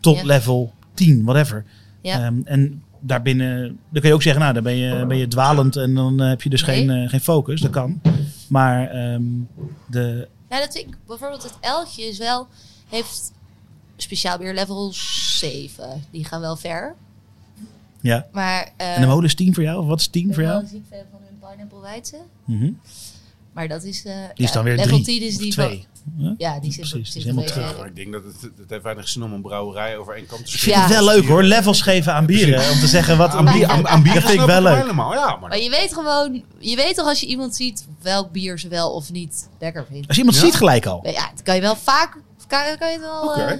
tot
Ja.
level 10, whatever.
Ja.
Ehm, en daarbinnen, dan kun je ook zeggen, nou, dan ben je, ben je dwalend en dan eh, heb je dus
Nee.
geen, eh, geen focus, dat kan. Maar ehm, de,
Nou, dat vind ik bijvoorbeeld het Elgje is wel... Heeft speciaal bier level 7. Die gaan wel ver.
ja.
Maar... eh,
en de molen is 10 voor jou? Of wat is 10
ik
voor
ben wel
jou?
een ziek fan van hun Pineapple Weidse.
Mhm.
Maar dat is... eh,
Die is
ja,
dan weer
level
drie
10 is
of
die
twee.
van- ja, die
Precies,
zit, zit
die is
een
helemaal
beetje-
terug.
Ja, maar ik denk dat het, het heeft weinig zin om een brouwerij over één kant te
Ik
schieten.
Ja.
vind het wel leuk hoor, levels geven aan bieren. Om te zeggen wat
Aan, bier- aan, aan bier
Dat vind ik
snap
wel
het
leuk.
Helemaal, ja, maar
Maar je weet gewoon... Je weet toch als je iemand ziet welk bier ze wel of niet lekker vindt.
Als je iemand
Ja.
ziet gelijk al.
Ja, dat kan je wel vaak... Kan, kan je het wel...
Oké.
eh,
Dat-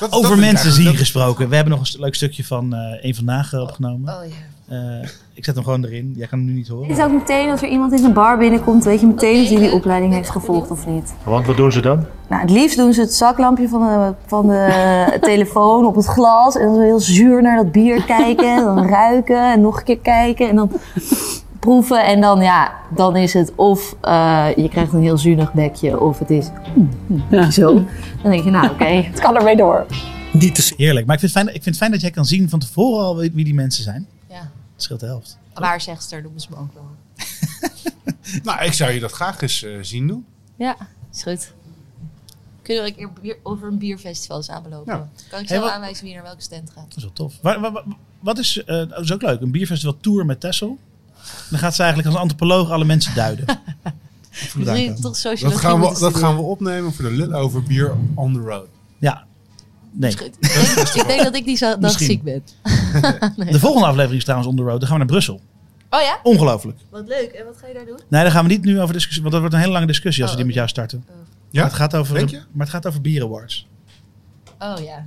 dat
Over
vind ik
mensen
eigenlijk-
zien gesproken. We hebben nog een st- leuk stukje van eh een vandaag eh, opgenomen.
oh ja.
Eh, ik zet hem gewoon erin. Jij kan hem nu niet horen.
Het is ook meteen als er iemand in zijn bar binnenkomt, weet je meteen
Oké,
of hij die
leuk.
opleiding
Ben
heeft
echt
gevolgd of niet.
Want wat doen ze dan?
Nou, het liefst doen ze het zaklampje van de, van
[laughs]
de telefoon op het glas en dan zo heel zuur naar dat bier kijken, en dan ruiken en nog een keer kijken en dan proeven en dan ja, dan is het of eh, je krijgt een heel zuinig bekje of het is mm, mm, zo. Dan denk je nou oké, het kan ermee door.
Dit is
Heerlijk. Maar ik vind, het fijn, ik vind het fijn dat jij kan zien van tevoren al wie wie die mensen zijn.
Ja.
Het scheelt de helft.
Waarzegster noemen ze me ook wel.
Nou, ik zou je dat graag eens eh, zien doen.
Ja, is goed. Kunnen we een keer bier- over een bierfestival samenlopen?
Ja.
Kan ik
Hey,
zelf
wat-
aanwijzen wie naar welke stand gaat?
Dat is wel tof. Waar- waar- waar- wat is, eh, dat is ook leuk, een bierfestival tour met Tessel. Dan gaat ze eigenlijk als antropoloog alle mensen duiden. Ik
[laughs]
voel het
Misschien
aankomen.
toch sociologie
Dat gaan, we,
moeten
dat gaan
studeren.
we opnemen voor de lul over bier on the road.
Ja. Nee.
Is goed. Ik denk, ik denk dat ik die zo- dag
Misschien.
ziek ben.
De volgende aflevering is trouwens on the road. Dan gaan we naar Brussel.
Oh ja?
Ongelooflijk.
Wat leuk. En wat ga je daar doen?
Nee, daar gaan we niet nu over discussiëren. Want dat wordt een hele lange discussie als
Oh,
we die
oké.
met jou starten.
Ja?
Maar het gaat over,
Denk je?
maar het gaat over bier awards.
Oh ja.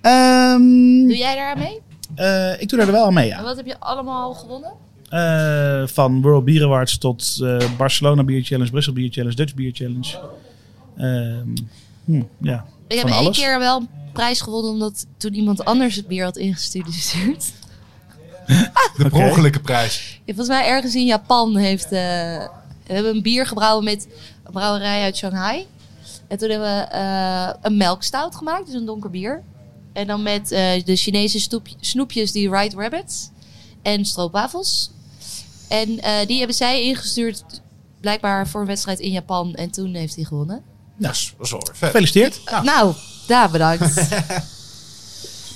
Ehm,
Doe jij daar aan mee?
eh, ik doe daar wel aan mee,
En
ja.
wat heb je allemaal gewonnen?
Eh, van World Beer Awards tot eh, Barcelona Beer Challenge, Brussel Beer Challenge, Dutch Beer Challenge. Ehm, hm, ja,
Ik heb
van
één
alles.
keer wel een prijs gewonnen omdat toen iemand anders het bier had ingestuurd.
De per ongelukke prijs.
Ja, volgens mij ergens in Japan heeft... eh, we hebben een bier gebrouwen met een brouwerij uit Shanghai. En toen hebben we eh, een melkstout gemaakt, dus een donker bier. En dan met eh, de Chinese stoep- snoepjes, die Right Rabbit. En stroopwafels. En eh, die hebben zij ingestuurd, blijkbaar voor een wedstrijd in Japan. En toen heeft hij gewonnen.
Ja, dat is wel weer vet.
Gefeliciteerd.
Nou, daar bedankt.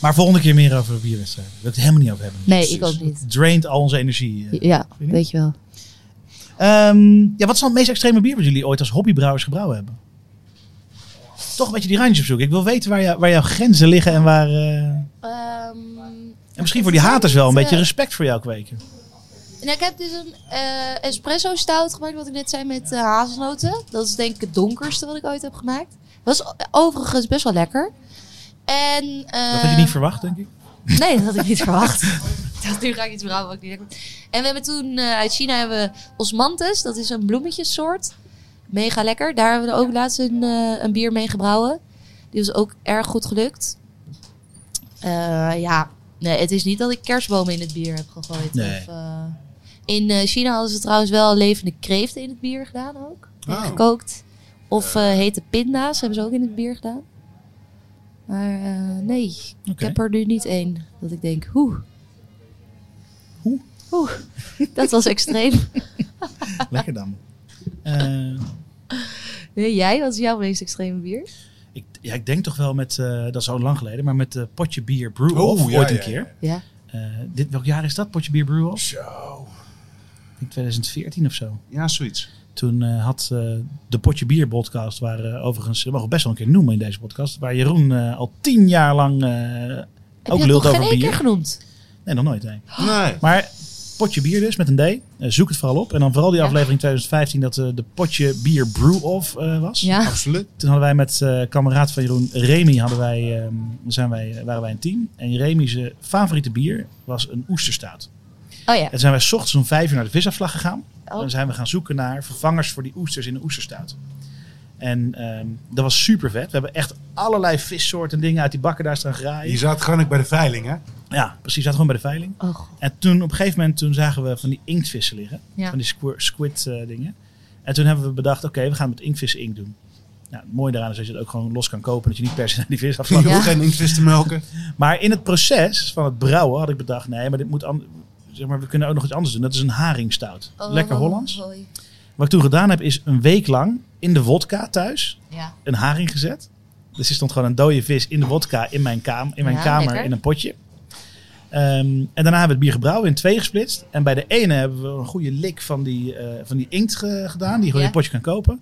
Maar volgende keer meer over bierwedstrijden. Dat we het helemaal niet over hebben.
Nee, ik ook niet.
Het draint al onze energie. eh.
Ja, weet je wel.
Ehm, ja, wat is dan het meest extreme bier wat jullie ooit als hobbybrouwers gebrouwen hebben? Toch een beetje die randjes opzoeken. Ik wil weten waar, jou- waar jouw grenzen liggen en waar... eh,
Ehm,
En misschien voor die haters wel een
Eh,
beetje respect voor jou kweken.
Nou, ik heb dus een eh, espresso stout gemaakt, wat ik net zei, met eh, hazelnoten. Dat is denk ik het donkerste wat ik ooit heb gemaakt. Was o- overigens best wel lekker. En, eh,
Dat had je niet verwacht, denk ik.
Nee, dat had ik niet verwacht. [laughs] Ik dacht, nu ga ik iets brouwen wat ik niet lekker vind. En we hebben toen eh, uit China hebben we osmanthus. Dat is een bloemetjessoort. Mega lekker. Daar hebben we er ook laatst een, eh, een bier mee gebrouwen. Die was ook erg goed gelukt. Eh, ja, nee, het is niet dat ik kerstbomen in het bier heb gegooid.
Nee.
Of, eh, in eh, China hadden ze trouwens wel levende kreeften in het bier gedaan ook.
Oh.
Gekookt. Of eh, hete pinda's hebben ze ook in het bier gedaan. Maar eh, nee,
Oké.
ik heb er nu niet één dat ik denk, hoe.
Hoe?
Hoe. Dat was extreem.
Lekker dan. Eh,
Nee, jij, wat is jouw meest extreme bier?
ik, ja, ik denk toch wel met, eh, dat is al lang geleden, maar met eh, potje bier brew off
Oh, ja,
ooit een
ja,
keer.
Ja.
Eh, dit, welk jaar is dat, potje bier brew off?
Zo.
Ik denk 2014 of zo.
Ja, zoiets.
Toen eh, had eh, de Potje Bier podcast, waar eh, overigens, we mogen het best wel een keer noemen in deze podcast, waar Jeroen eh, al tien jaar lang eh,
Heb
ook
je het nog
lult
geen
over
één
bier.
keer genoemd?
Nee, nog nooit. Nee.
Nee.
Maar Potje Bier dus, met een D. Eh, zoek het vooral op. En dan vooral die
Ja.
aflevering 2015 dat eh, de Potje Bier Brew Off eh, was.
Ja.
Absoluut.
Toen hadden wij met eh kameraad van Jeroen, Remy, hadden wij, ehm, zijn wij, waren wij een team. En Remy's eh, favoriete bier was een oesterstaat.
Oh ja.
En toen zijn wij 's ochtends om vijf uur naar de visafslag gegaan.
Oh.
Dan zijn we gaan zoeken naar vervangers voor die oesters in de oesterstaat. En ehm, dat was super vet. We hebben echt allerlei vissoorten en dingen uit die bakken daar staan graaien.
Je zat gewoon ook bij de veiling, hè?
Ja, precies. Zaten gewoon bij de veiling.
Oh, god.
En toen op een gegeven moment toen zagen we van die inktvissen liggen.
Ja.
Van die squir- squid eh, dingen. En toen hebben we bedacht, oké, we gaan het met inktvissen inkt doen. Nou, het mooie daaraan is dat je het ook gewoon los kan kopen. Dat je niet per se naar die
Je
visafslag
hoeft
Ja.
geen inktvis te melken.
maar in het proces van het brouwen had ik bedacht, nee, maar dit moet an- zeg maar, we kunnen ook nog iets anders doen. Dat is een haringstout.
Oh,
Lekker Hollands.
hoi.
Wat ik toen gedaan heb, is een week lang in de wodka thuis
Ja.
een haring gezet. Dus er stond gewoon een dode vis in de wodka in mijn, kaam, in mijn
Ja,
kamer
lekker.
in een potje. Ehm, en daarna hebben we het bier gebrouwen in twee gesplitst. En bij de ene hebben we een goede lik van die, eh, van die inkt ge- gedaan, die je gewoon in
Ja.
een potje kan kopen.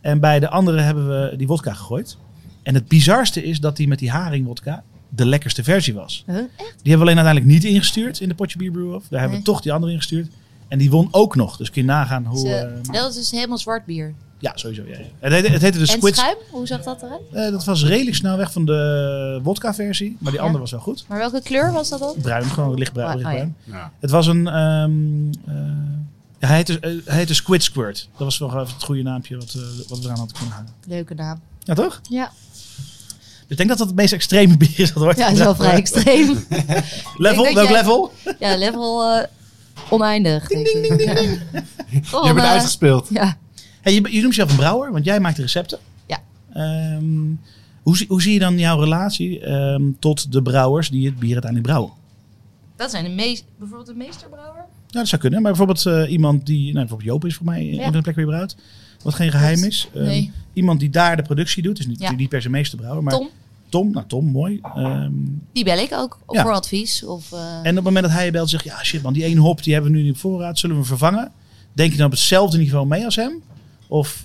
En bij de andere hebben we die wodka gegooid. En het bizarste is dat die met die haringwodka de lekkerste versie was.
Huh?
Die hebben we alleen uiteindelijk niet ingestuurd in de potje bier brew Daar hebben
Nee.
we toch die andere ingestuurd. En die won ook nog. Dus kun je nagaan hoe...
Ze-
ehm,
dat is dus helemaal zwart bier.
ja, sowieso. Ja, ja. Het, heette, het heette de
en
Squid.
schuim, hoe zag dat eruit?
Eh, dat was redelijk snel weg van de wodka-versie. Maar die
Ja.
andere was wel goed.
Maar welke kleur was dat dan?
Bruin, gewoon lichtbruin.
Oh, oh ja.
lichtbruin.
Ja.
Het was een... ehm, eh, ja, hij, heette, eh, hij heette Squid Squirt. Dat was wel even het goede naampje wat, eh, wat we eraan hadden kunnen hangen.
Leuke naam.
Ja, toch?
Ja,
Dus ik denk dat dat het meest extreme bier is dat wordt.
ja dat is wel vrij extreem. Ik
Level?
denk
Welk
jij-
level?
Ja, level eh, oneindig. Ding, ding, ding, ding, ding.
Je bent uitgespeeld.
eh, Ja.
Hey, je, je noemt jezelf een brouwer, want jij maakt de recepten.
Ja.
Ehm, hoe, zie- hoe zie je dan jouw relatie ehm, tot de brouwers die het bier uiteindelijk brouwen?
Dat zijn de meest, bijvoorbeeld de meesterbrouwer.
Nou, dat zou kunnen. Maar bijvoorbeeld eh, iemand die... Nou, bijvoorbeeld Joop is voor mij
Ja.
een van de plekken weer brouwt. Wat geen geheim is. Ehm,
Nee.
Iemand die daar de productie doet. Dus niet,
Ja.
niet per se meesterbrouwer. Maar
Tom,
Tom, nou Tom, mooi. Ehm,
die bel ik ook
Ja.
voor advies. Of, eh,
en op het moment dat hij je belt zegt... Ja, shit man, die ene hop die hebben we nu in voorraad. Zullen we hem vervangen? Denk je dan op hetzelfde niveau mee als hem? Of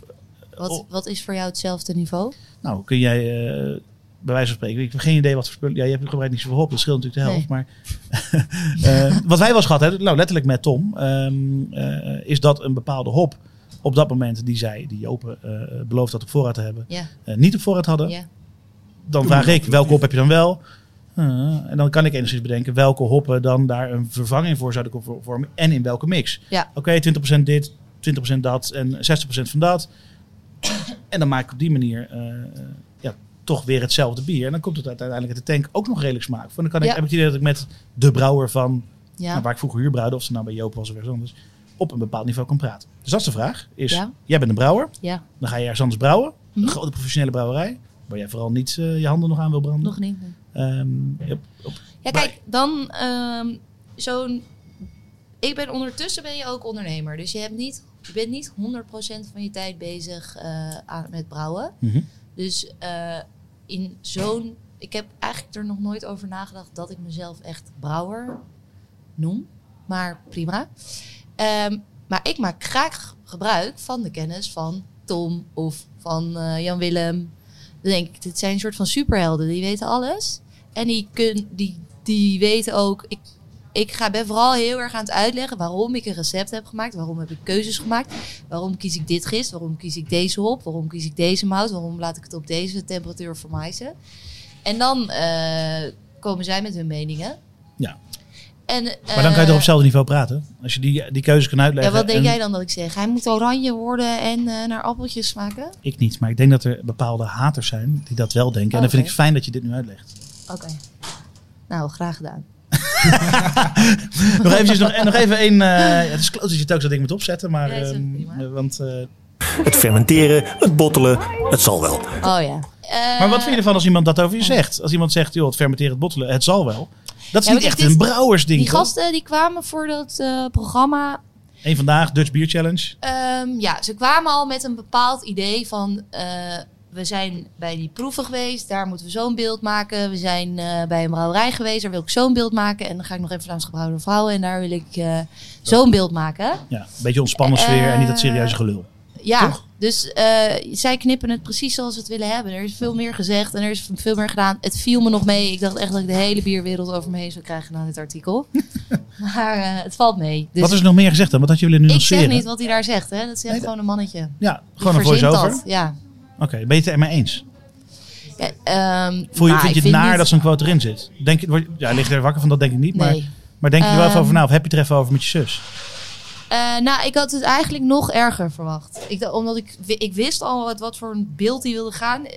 wat,
oh.
wat is voor jou hetzelfde niveau?
Nou, kun jij eh, bij wijze van spreken, ik heb geen idee wat voor spullen. Ja, je hebt gebruikt niet zoveel op, dat scheelt natuurlijk de helft. Maar [laughs] eh, wat wij wel eens gehad hebben, nou letterlijk met Tom, ehm, eh, is dat een bepaalde hop op dat moment die zij, die Jopen eh beloofd had op voorraad te hebben,
Ja,
eh, niet op voorraad hadden.
ja.
Dan vraag ik, welke hop heb je dan wel? Eh, en dan kan ik enigszins bedenken welke hoppen dan daar een vervanging voor zouden kunnen vo- vormen en in welke mix.
Ja.
Oké, 20% dit, 20% dat en 60% van dat. En dan maak ik op die manier eh, ja, toch weer hetzelfde bier. En dan komt het uiteindelijk uit de tank ook nog redelijk smaak. En dan kan ik,
Ja.
heb ik het idee dat ik met de brouwer van
Ja.
Nou, waar ik vroeger huurbruiden, of ze nou bij Joop was of ergens anders, op een bepaald niveau kan praten. Dus dat is de vraag. Is,
Ja.
Jij bent een brouwer,
ja,
dan ga je ergens anders brouwen.
Mhm.
Een grote professionele brouwerij, waar jij vooral niet eh, je handen nog aan wil branden.
nog niet.
Ehm, op- op-
Ja, kijk, dan ehm, zo'n... Ik ben ondertussen ben je ook ondernemer. Dus je, hebt niet, je bent niet 100% van je tijd bezig eh, aan, met brouwen.
Mhm.
Dus eh, in zo'n... Ik heb eigenlijk er nog nooit over nagedacht dat ik mezelf echt brouwer noem. Maar prima. Ehm, maar ik maak graag gebruik van de kennis van Tom of van eh, Jan Willem. Dan denk ik, dit zijn een soort van superhelden. Die weten alles. En die, kun, die, die weten ook. Ik, ik ga, ben vooral heel erg aan het uitleggen waarom ik een recept heb gemaakt. Waarom heb ik keuzes gemaakt. Waarom kies ik dit gist? Waarom kies ik deze hop? Waarom kies ik deze mout? Waarom laat ik het op deze temperatuur vermijzen? En dan eh, komen zij met hun meningen.
Ja.
En,
maar dan kan je toch op
eh,
hetzelfde niveau praten? Als je die, die keuze kan
ja,
uitleggen.
wat denk
en-
jij dan dat ik zeg? Hij moet oranje worden en eh, naar appeltjes smaken?
Ik niet, maar ik denk dat er bepaalde haters zijn die dat wel denken. en dan vind
Oké.
ik fijn dat je dit nu uitlegt. [laughs]
Oké. Nou, graag gedaan.
Nog eventjes, nog, en nog even één... eh, ja, het is kloot dat je telkens dat ding moet opzetten, maar...
Ja, is ook
ehm,
prima.
eh, want, eh,
Het fermenteren, het bottelen, het zal wel.
Oh ja.
maar wat vind je ervan als iemand dat over je zegt? Als iemand zegt, joh, het fermenteren, het bottelen, het zal wel. Dat is
Ja,
niet
maar
echt
dit is-
een brouwersding,
Die
toch?
gasten die kwamen voor dat eh, programma
Eén vandaag, Dutch Beer Challenge.
Ehm, ja, ze kwamen al met een bepaald idee van... eh, we zijn bij die proeven geweest, daar moeten we zo'n beeld maken. We zijn eh, bij een brouwerij geweest, daar wil ik zo'n beeld maken. En dan ga ik nog even langs gebrouwde vrouwen en daar wil ik eh, zo'n beeld maken.
Ja, een beetje ontspannen
Eh,
sfeer en niet dat serieuze gelul.
Ja,
Toch?
dus eh, zij knippen het precies zoals ze het willen hebben. Er is veel meer gezegd en er is veel meer gedaan. Het viel me nog mee. Ik dacht echt dat ik de hele bierwereld over me heen zou krijgen na dit
[laughs]
artikel. maar eh, het valt mee. Dus
Wat is er nog meer gezegd dan? Wat had je willen
ik
nuanceren?
zeg niet wat hij daar zegt. Hè? Dat zegt
Nee, dat-
gewoon een mannetje.
Ja,
Die
gewoon een
verzint
voice-over.
dat, Ja.
Oké, ben je het ermee eens?
Ja, ehm,
Voel je,
nou,
vind
ik
je het naar
niet-
dat zo'n quote erin zit? Denk, je- word, je- ja, lig je er wakker van? Dat denk ik niet. Maar,
Nee.
maar denk je er wel even
Ehm,
over na? Of heb je het er even over met je zus?
Eh, nou, ik had het eigenlijk nog erger verwacht. Ik, dacht- omdat ik, wi- ik wist al wat, wat voor een beeld die wilde gaan. Eh,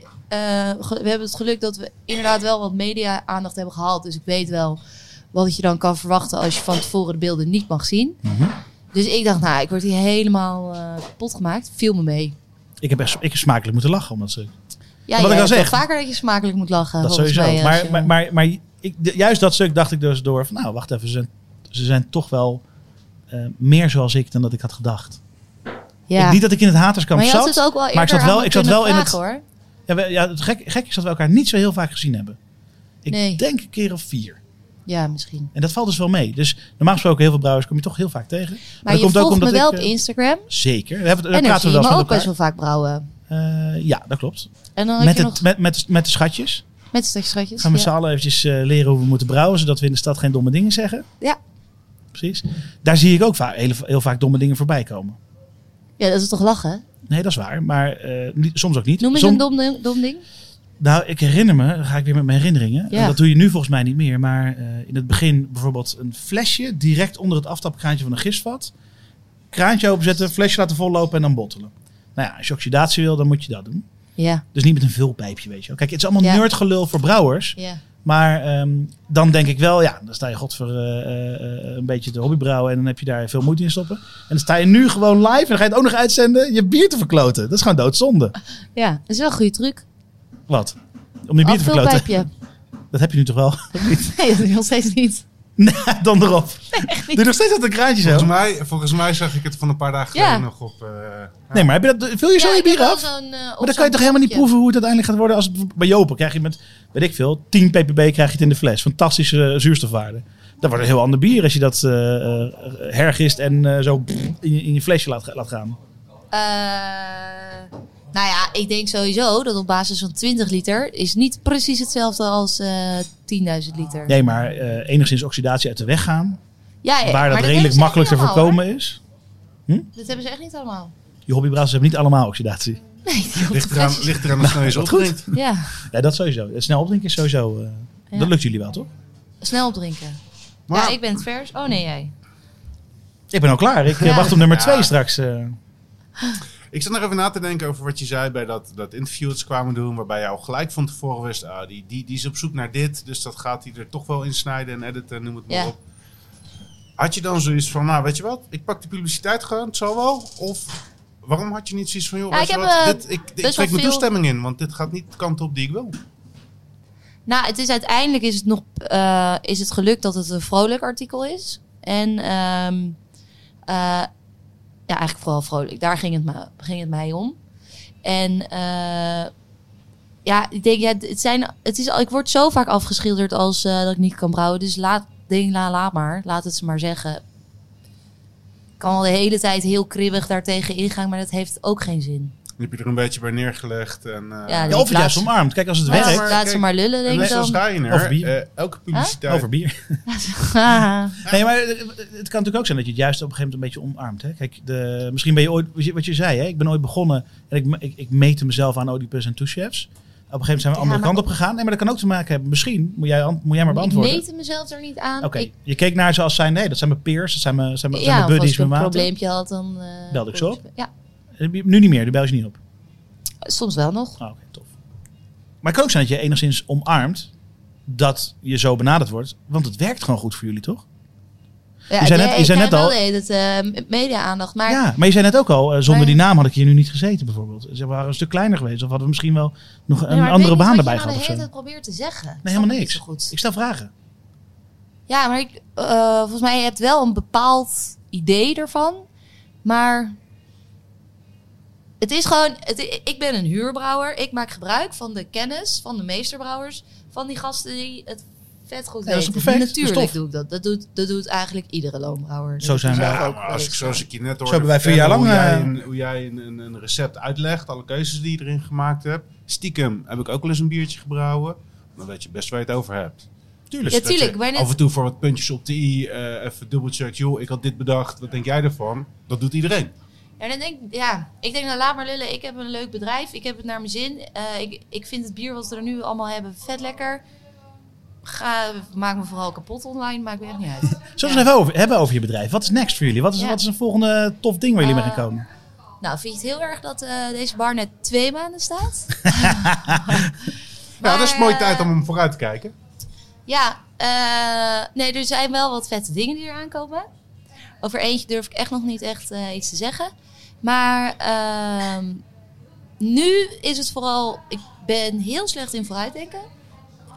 ge- we hebben het geluk dat we inderdaad wel wat media-aandacht hebben gehaald. Dus ik weet wel wat je dan kan verwachten als je van tevoren de beelden niet mag zien.
Mhm.
Dus ik dacht, nou, ik word hier helemaal eh kapot gemaakt. Viel me mee.
Ik heb, echt, ik heb smakelijk moeten lachen. Omdat ze,
Ja,
Wat ik
jij
al
hebt wel
zeg.
vaker dat je smakelijk moet lachen.
dat
volgens
sowieso.
mij, als
maar,
je-
maar, maar, maar ik, de- juist dat stuk dacht ik dus door van... Nou, wacht even. Ze zijn, ze zijn toch wel eh, meer zoals ik dan dat ik had gedacht.
ja.
Ik- niet dat ik in het haterskamp
maar je had
zat.
het ook wel eerder
maar ik zat wel,
aan
ik zat wel in het,
hoor.
ja, we- ja, het gek, gek is dat we elkaar niet zo heel vaak gezien hebben. Ik
Nee.
denk een keer of vier.
Ja, misschien.
En dat valt dus wel mee. Dus normaal gesproken, heel veel brouwers kom je toch heel vaak tegen. Maar,
Maar,
dat
je
komt ook
volgt me
omdat
wel
ik,
op
eh,
Instagram.
Zeker. Daar, hebben- daar
en
praten
praten
we wel eens
maar
met
ook best
elkaar.
wel vaak brouwen.
Eh, ja, dat klopt.
En dan heb
Met,
je
het,
nog
met, met, met de schatjes.
met strakjes.
Gaan we z'n
ja.
allen eventjes eh, leren hoe we moeten brouwen, zodat we in de stad geen domme dingen zeggen.
Ja.
Precies. Daar zie ik ook va- heel, heel vaak domme dingen voorbij komen.
ja, dat is toch lachen?
Nee, dat is waar. Maar eh, niet- soms ook niet.
Noem eens
Som-
een dom, ding- dom ding.
Nou, ik herinner me, dan ga ik weer met mijn herinneringen.
Ja.
Dat doe je nu volgens mij niet meer. Maar eh, in het begin bijvoorbeeld een flesje direct onder het aftapkraantje van een gistvat. Kraantje openzetten, flesje laten vollopen en dan bottelen. Nou ja, als je oxidatie wil, dan moet je dat doen.
Ja.
Dus niet met een vulpijpje, weet je wel. Kijk, het is allemaal
Ja.
nerdgelul voor brouwers.
ja.
Maar ehm, dan denk ik wel, ja, dan sta je godver eh, eh, eh, een beetje te hobbybrouwen. En dan heb je daar veel moeite in stoppen. En dan sta je nu gewoon live en dan ga je het ook nog uitzenden. Je bier te verkloten. Dat is gewoon doodzonde.
Ja, dat is wel een goede truc.
Wat? Om je bier te verkloten.
Afvulpijpje.
Dat heb je nu toch wel?
[laughs]
[laughs]
Nee, dat doe ik nog steeds niet.
Nee, dan erop. Doe je nog steeds dat een kraantje zo?
Volgens mij, volgens mij zag ik het van een paar dagen
Ja.
geleden nog op... eh,
Nee, maar heb je dat, vul je zo
ja,
je
ik heb
bier
wel
af?
zo'n, eh, op
Maar dan kan
zo'n
je toch helemaal niet
bakje.
proeven hoe het uiteindelijk gaat worden. Als het- bij Jopen krijg je met, weet ik veel, 10 ppb krijg je het in de fles. Fantastische eh, zuurstofwaarde. Dat wordt een heel ander bier als je dat eh, eh, hergist en eh, zo in je, in je flesje laat, laat gaan.
Eh, nou ja, ik denk sowieso dat op basis van 20 liter is niet precies hetzelfde als eh 10.000 liter.
Nee, maar eh, enigszins oxidatie uit de weg gaan.
ja,
waar
ja, Eh, maar
dat
hebben
redelijk
ze
makkelijk te
echt niet allemaal,
voorkomen is.
hoor. Dat hebben ze echt niet
[laughs]
allemaal.
Je hobbybrouwers hebben niet allemaal oxidatie.
Nee, die op de
Ligt eraan,
fles.
[laughs]
ligt eraan als snel je ze
wat goed.
opdrinkt.
Ja,
Ja, dat sowieso. Het snel opdrinken is sowieso... eh,
Ja.
Dat lukt jullie wel, toch?
snel opdrinken.
Maar-
Ja, ik ben het vers. Oh nee, jij.
Ik ben al klaar. Ik eh,
Ja.
wacht op nummer 2
Ja.
straks. eh.
Ik zat nog even na te denken over wat je zei bij dat, dat interview dat ze kwamen doen. Waarbij jou gelijk van tevoren wist, ah, die, die, die is op zoek naar dit. Dus dat gaat hij er toch wel insnijden en editen, noem het maar
Ja.
op. Had je dan zoiets van, nou weet je wat, ik pak de publiciteit gewoon, het zal wel? Of waarom had je niet zoiets van, joh,
Ja,
weet
ik
je
heb,
wat,
eh,
dit, ik, ik
wel
trek mijn
veel-
toestemming in, want dit gaat niet de kant op die ik wil.
Nou, het is uiteindelijk is het nog eh, is het gelukt dat het een vrolijk artikel is. En ehm, eh, ja, eigenlijk vooral vrolijk. Daar ging het, me, ging het mij om. En eh, ja, ik denk, ja, het zijn, het is, al- ik word zo vaak afgeschilderd als eh, dat ik niet kan brouwen. Dus laat, ding, la, laat maar. Laat het ze maar zeggen. Ik kan al de hele tijd heel kribbig daartegen ingaan, maar dat heeft ook geen zin.
Dan heb je er een beetje bij neergelegd. En, eh,
Ja,
Ja, of het
Laat
juist
ze-
omarmd. Kijk, als het
Ja,
werkt,
maar
laat ze
kijk,
maar lullen,
en
denk
net
ik [laughs]
zoals
dan.
Ryanair,
Over bier.
eh, elke publiciteit...
over bier. Nee, maar het het kan natuurlijk ook zijn dat je het juist op een gegeven moment een beetje omarmt. Hè? Kijk, de, misschien ben je ooit, wat je- wat je zei, hè? ik ben ooit begonnen en ik, ik, ik meette mezelf aan Oedipus en Two Chefs. Op een gegeven moment zijn we andere
maar
kant op gegaan. Nee, maar dat kan ook te maken hebben. Misschien moet jij, ant- moet jij maar
ik
beantwoorden.
meet mezelf er niet aan.
Oké,
Ik-
je keek naar ze als zijn, nee, dat zijn mijn peers, dat zijn mijn, zijn mijn, zijn
ja,
mijn
of als
buddies,
ik een
mijn maten.
probleempje had, dan... eh,
Belde ik ze op?
Ja,
Nu niet meer, daar bel je ze niet op.
soms wel nog.
Ah, Oké, tof. Maar het kan ook zijn dat je enigszins omarmt dat je zo benaderd wordt. Want het werkt gewoon goed voor jullie, toch?
Ja,
Je zei net-
jij-
je zei
jij
net al-
wel deed het eh, media-aandacht. Maar
ja, maar je zei net ook al, eh, zonder
Maar-
die naam had ik hier nu niet gezeten bijvoorbeeld. Ze waren een stuk kleiner geweest. Of hadden we misschien wel nog een
Ja, maar ik
andere
weet
baan
niet
erbij
wat je nou
gehad of
de
zo.
hele tijd probeert te zeggen.
Nee,
Ik snap
helemaal
het
niks.
niet zo goed.
Ik stel vragen.
Ja, maar ik, eh, volgens mij je hebt wel een bepaald idee ervan. Maar het is gewoon... Het, i- ik ben een huurbrouwer. Ik maak gebruik van de kennis van de meesterbrouwers. Van die gasten die het vet goed
Ja, dat is
weten.
perfect. Dat is
Natuurlijk
tof.
doe ik dat. Dat doet, dat doet eigenlijk iedere loonbrouwer.
Zo zijn wij.
wij.
Ja, maar als ik, zoals ik je net hoorde
hebben wij vier jaar
vertellen
lang, eh,
Hoe jij, een, hoe jij een, een, een recept uitlegt, alle keuzes die je erin gemaakt hebt. Stiekem heb ik ook wel eens een biertje gebrouwen. Omdat je best waar je het over hebt. Tuurlijk.
Ja, tuurlijk, maar net-
Af en toe voor wat puntjes op de i, eh even dubbelcheck. Joh, ik had dit bedacht, wat denk jij ervan? Dat doet iedereen.
Ja, dan denk, ik- ja, ik denk nou laat maar lullen. Ik heb een leuk bedrijf. Ik heb het naar mijn zin. Eh, ik, ik vind het bier wat we er nu allemaal hebben vet lekker. Ga, maak me vooral kapot online. Maakt me echt niet
[laughs]
uit.
Zullen we het even over, hebben over je bedrijf? Wat is next voor jullie? Wat is,
Ja. Eh,
wat is een volgende tof ding waar jullie mee gaan komen?
Nou, vind je het heel erg dat eh, deze bar net twee maanden
[laughs]
staat? [laughs]
ja, Nou, dat is
Maar,
een mooie
eh,
tijd om om vooruit te kijken.
Ja, eh, nee, er zijn wel wat vette dingen die eraan komen. Over eentje durf ik echt nog niet echt eh, iets te zeggen. Maar ehm, nu is het vooral, ik ben heel slecht in vooruitdenken.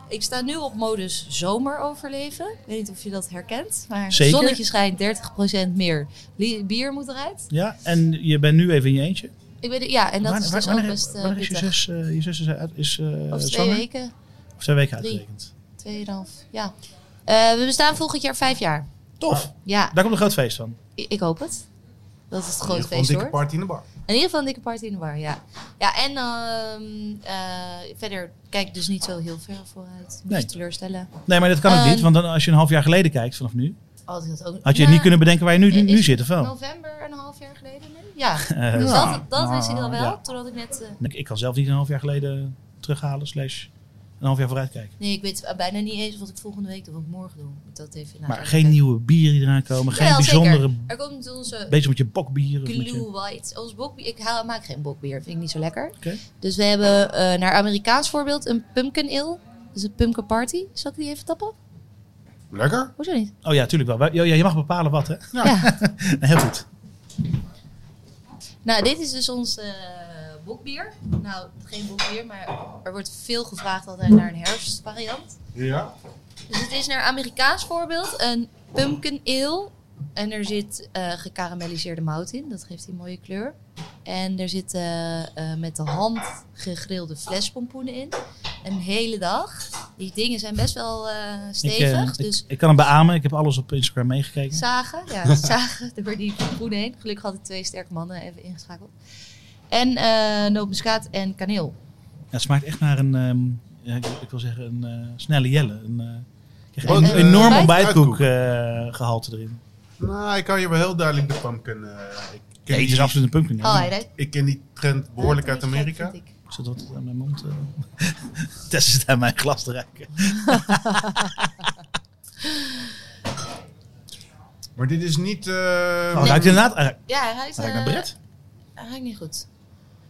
Ik sta nu op modus zomer overleven. Ik weet niet of je dat herkent. Maar
Zeker.
zonnetje schijnt 30% meer. Li- Bier moet eruit.
Ja, en je bent nu even in je eentje.
Ik weet, ja, en dat
Waar-
is
waar-
dus
wanneer,
ook best eh,
wanneer is je
pittig.
zus, eh, je zus is, uit- is eh,
Over twee
zwanger?
weken.
Of twee weken
Drie.
uitgerekend.
Tweeënhalf, ja. Eh, we bestaan volgend jaar vijf jaar.
Tof.
Ja,
Daar komt een groot feest van.
i- ik hoop het. Dat is het
In ieder
grote
geval Een
feest
dikke
hoor.
party in de bar.
In ieder geval een dikke party in de bar, ja. Ja, en ehm, eh, verder kijk ik dus niet zo heel ver vooruit. Moet
Nee.
je teleurstellen.
Nee, maar dat kan ook
Eh,
niet. Want dan, als je een half jaar geleden kijkt vanaf nu,
Had, ik dat ook,
had je
Nou,
niet kunnen bedenken waar je nu, nu,
is
nu
het
zit, of wel?
November een half jaar geleden nu?
[laughs]
Ja,
Eh,
dus
ja.
dat, dat wist ik al wel.
Ja.
Toen had ik net... eh,
Ik, ik kan zelf niet een half jaar geleden terughalen, slash een half jaar vooruit kijken.
nee, ik weet bijna niet eens wat ik volgende week doe, wat ik morgen doe. Moet dat even
Maar
nadenken.
geen nieuwe bieren die eraan komen, geen
Jawel, zeker.
bijzondere...
Er komt onze
Bezig met je bokbier. Of met je-
Glue White. Ons bokbier, ik haal, maak geen bokbier, vind ik niet zo lekker.
Oké.
Dus we hebben eh, naar Amerikaans voorbeeld een pumpkin ale. Dus een pumpkin party. Zal ik die even tappen?
Lekker.
Hoezo niet?
Oh ja, tuurlijk wel. Wij- Ja, ja, je mag bepalen wat, hè? [laughs]
Ja.
Nee, heel goed.
Nou, dit is dus ons eh, bokbier. Nou, geen bokbier, maar er wordt veel gevraagd altijd naar een herfstvariant.
Ja.
Dus het is naar Amerikaans voorbeeld een pumpkin ale. En er zit eh gekarameliseerde mout in. Dat geeft die mooie kleur. En er zitten eh, met de hand gegrilde flespompoenen in. Een hele dag. Die dingen zijn best wel eh,
Ik,
stevig.
eh,
dus
ik, ik kan hem beamen. Ik heb alles op Instagram meegekeken.
Zagen,
[laughs]
ja, zagen door die pompoenen heen. Gelukkig hadden twee sterke mannen even ingeschakeld. En eh nootmuskaat en kaneel.
Ja, het smaakt echt naar een, ehm, ja, ik, ik wil zeggen, een eh, snelle jelle. Een, eh, ik krijg
Gewoon,
een
eh,
enorm
ontbijt-
ontbijtkoek
Uitkoek.
eh, gehalte erin.
Nou, ik kan je wel heel duidelijk de pumpkin... eh, ik ken
Nee, het is
die-
absoluut een pumpkin.
Oh,
ja.
hij deed.
Ik ken die trend behoorlijk uit Amerika.
Vind ik.
Ik zat wat aan mijn mond. eh [laughs] Tess zit aan mijn glas te reiken.
Maar dit is niet... eh,
Oh, ruikt inderdaad. Hij ruikt,
Ja, hij is...
hij ruikt naar
eh,
Brett.
Hij ruikt niet goed.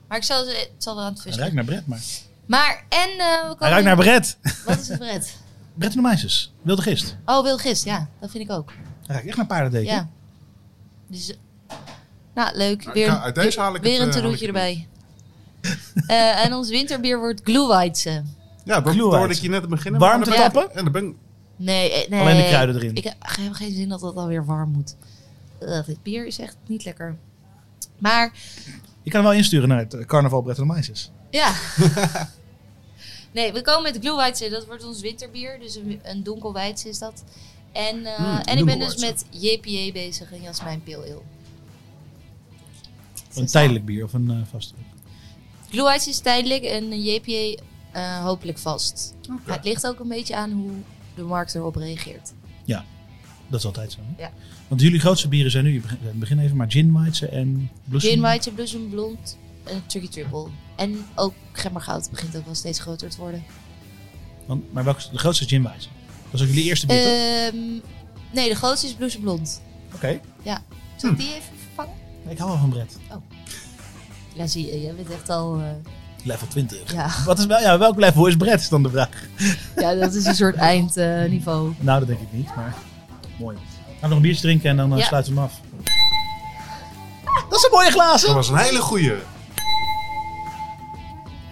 Maar ik zal, ze- het zal wel aan
Hij
het vissen.
ruikt naar Brett, maar.
Maar, en... eh, we komen-
Hij ruikt naar Brett. [laughs]
Wat is het Brett?
Bretten de Meisjes, Wilde Gist.
Oh, wil gist, ja. Dat vind ik ook.
Dan raak ik echt naar paardendeken.
Ja. Dus, nou, leuk.
Nou,
Weer,
ik ga- uit deze haal ik
weer
het,
een
eh, haal ik
toeroetje
het
erbij. Eh, en ons winterbier wordt glühweizen.
Ja, dat
Glue
hoorde
uit.
ik je net beginnen.
Warm
maar
te
daar ben ik-
tappen?
En dan ben ik-
Nee, eh, nee.
Alleen de kruiden erin.
Ik heb- ik heb geen zin dat dat alweer warm moet. Ugh, dit bier is echt niet lekker. Maar
Je kan hem wel insturen naar het eh, carnaval Bretten de Meisjes. [laughs]
Ja. nee, we komen met Glühweizen. Dat wordt ons winterbier. Dus een, een donkelweizen is dat. En, eh,
Hmm,
en ik ben dus met JPA bezig. Een Jasmijn Peel Ale.
Een tijdelijk bier of een eh vast.
Glühweizen is tijdelijk en een JPA eh, hopelijk vast. Maar Het ligt ook een beetje aan hoe de markt erop reageert.
Dat is altijd zo. hè?
Ja.
Want jullie grootste bieren zijn nu, je begint- begin, even, maar gin Weizen en bloesem.
Gin Weizen, Bloesem Blond en Tricky Triple. En ook Gemmergoud begint ook wel steeds groter te worden.
Want, maar welke, de grootste is gin Weizen. Dat is ook jullie eerste bier, toch?
Ehm, nee, de grootste is Bloesem Blond.
Oké.
Zal ik die even vervangen?
Ik hou wel van Brett.
Ja, zie je. Jij bent echt al... eh,
Level 20.
ja.
Wat is, wel- ja, welk level is Brett, is dan de vraag.
[laughs] Ja, dat is een soort eindniveau.
Nou, dat denk ik niet, maar mooi. Gaan we nog een biertje drinken en dan eh,
Ja.
sluiten we hem af. Dat is een mooie glazen.
dat was een hele goeie.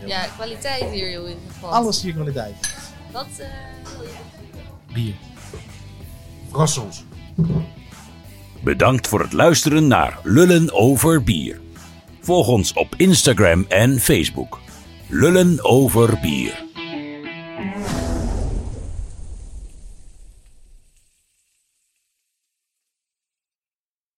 ja, kwaliteit hier, joh, in ieder geval.
Alles hier kwaliteit.
Wat eh, wil je?
Bier.
Verras ons.
Bedankt voor het luisteren naar Lullen over bier. Volg ons op Instagram en Facebook. Lullen over bier.